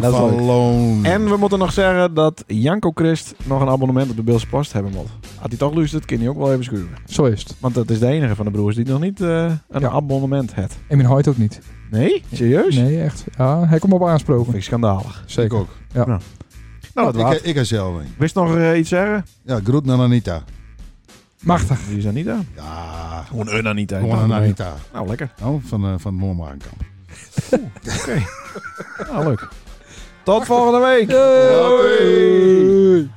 [SPEAKER 1] dat is
[SPEAKER 3] van
[SPEAKER 1] leuk.
[SPEAKER 3] Loon.
[SPEAKER 1] En we moeten nog zeggen dat Janko Christ nog een abonnement op de Beeldse Post hebben moet. Had hij toch luisterd, kan hij ook wel even schuren.
[SPEAKER 2] Zo is het.
[SPEAKER 1] Want dat is de enige van de broers die nog niet eh, een
[SPEAKER 2] Ja.
[SPEAKER 1] abonnement heeft.
[SPEAKER 2] En mijn huid ook niet.
[SPEAKER 1] Nee? Serieus?
[SPEAKER 2] Nee, echt. Ja, hij komt op
[SPEAKER 1] Vind
[SPEAKER 2] aansproken.
[SPEAKER 1] ik schandalig.
[SPEAKER 3] Ik
[SPEAKER 2] Zeker.
[SPEAKER 3] ook.
[SPEAKER 1] Nou, dat was.
[SPEAKER 3] Ik,
[SPEAKER 1] het.
[SPEAKER 3] ik heb zelf een.
[SPEAKER 1] Wist nog eh, iets zeggen?
[SPEAKER 3] Ja, groet naar Anita.
[SPEAKER 2] Machtig.
[SPEAKER 1] Die is er niet aan.
[SPEAKER 3] Ja, gewoon
[SPEAKER 1] Gewoon een Anita.
[SPEAKER 3] naar Anita.
[SPEAKER 1] Nou, lekker.
[SPEAKER 3] Nou, van, eh, van het Moormakenkamp.
[SPEAKER 1] Nou, leuk. Tot volgende week.
[SPEAKER 2] Yay.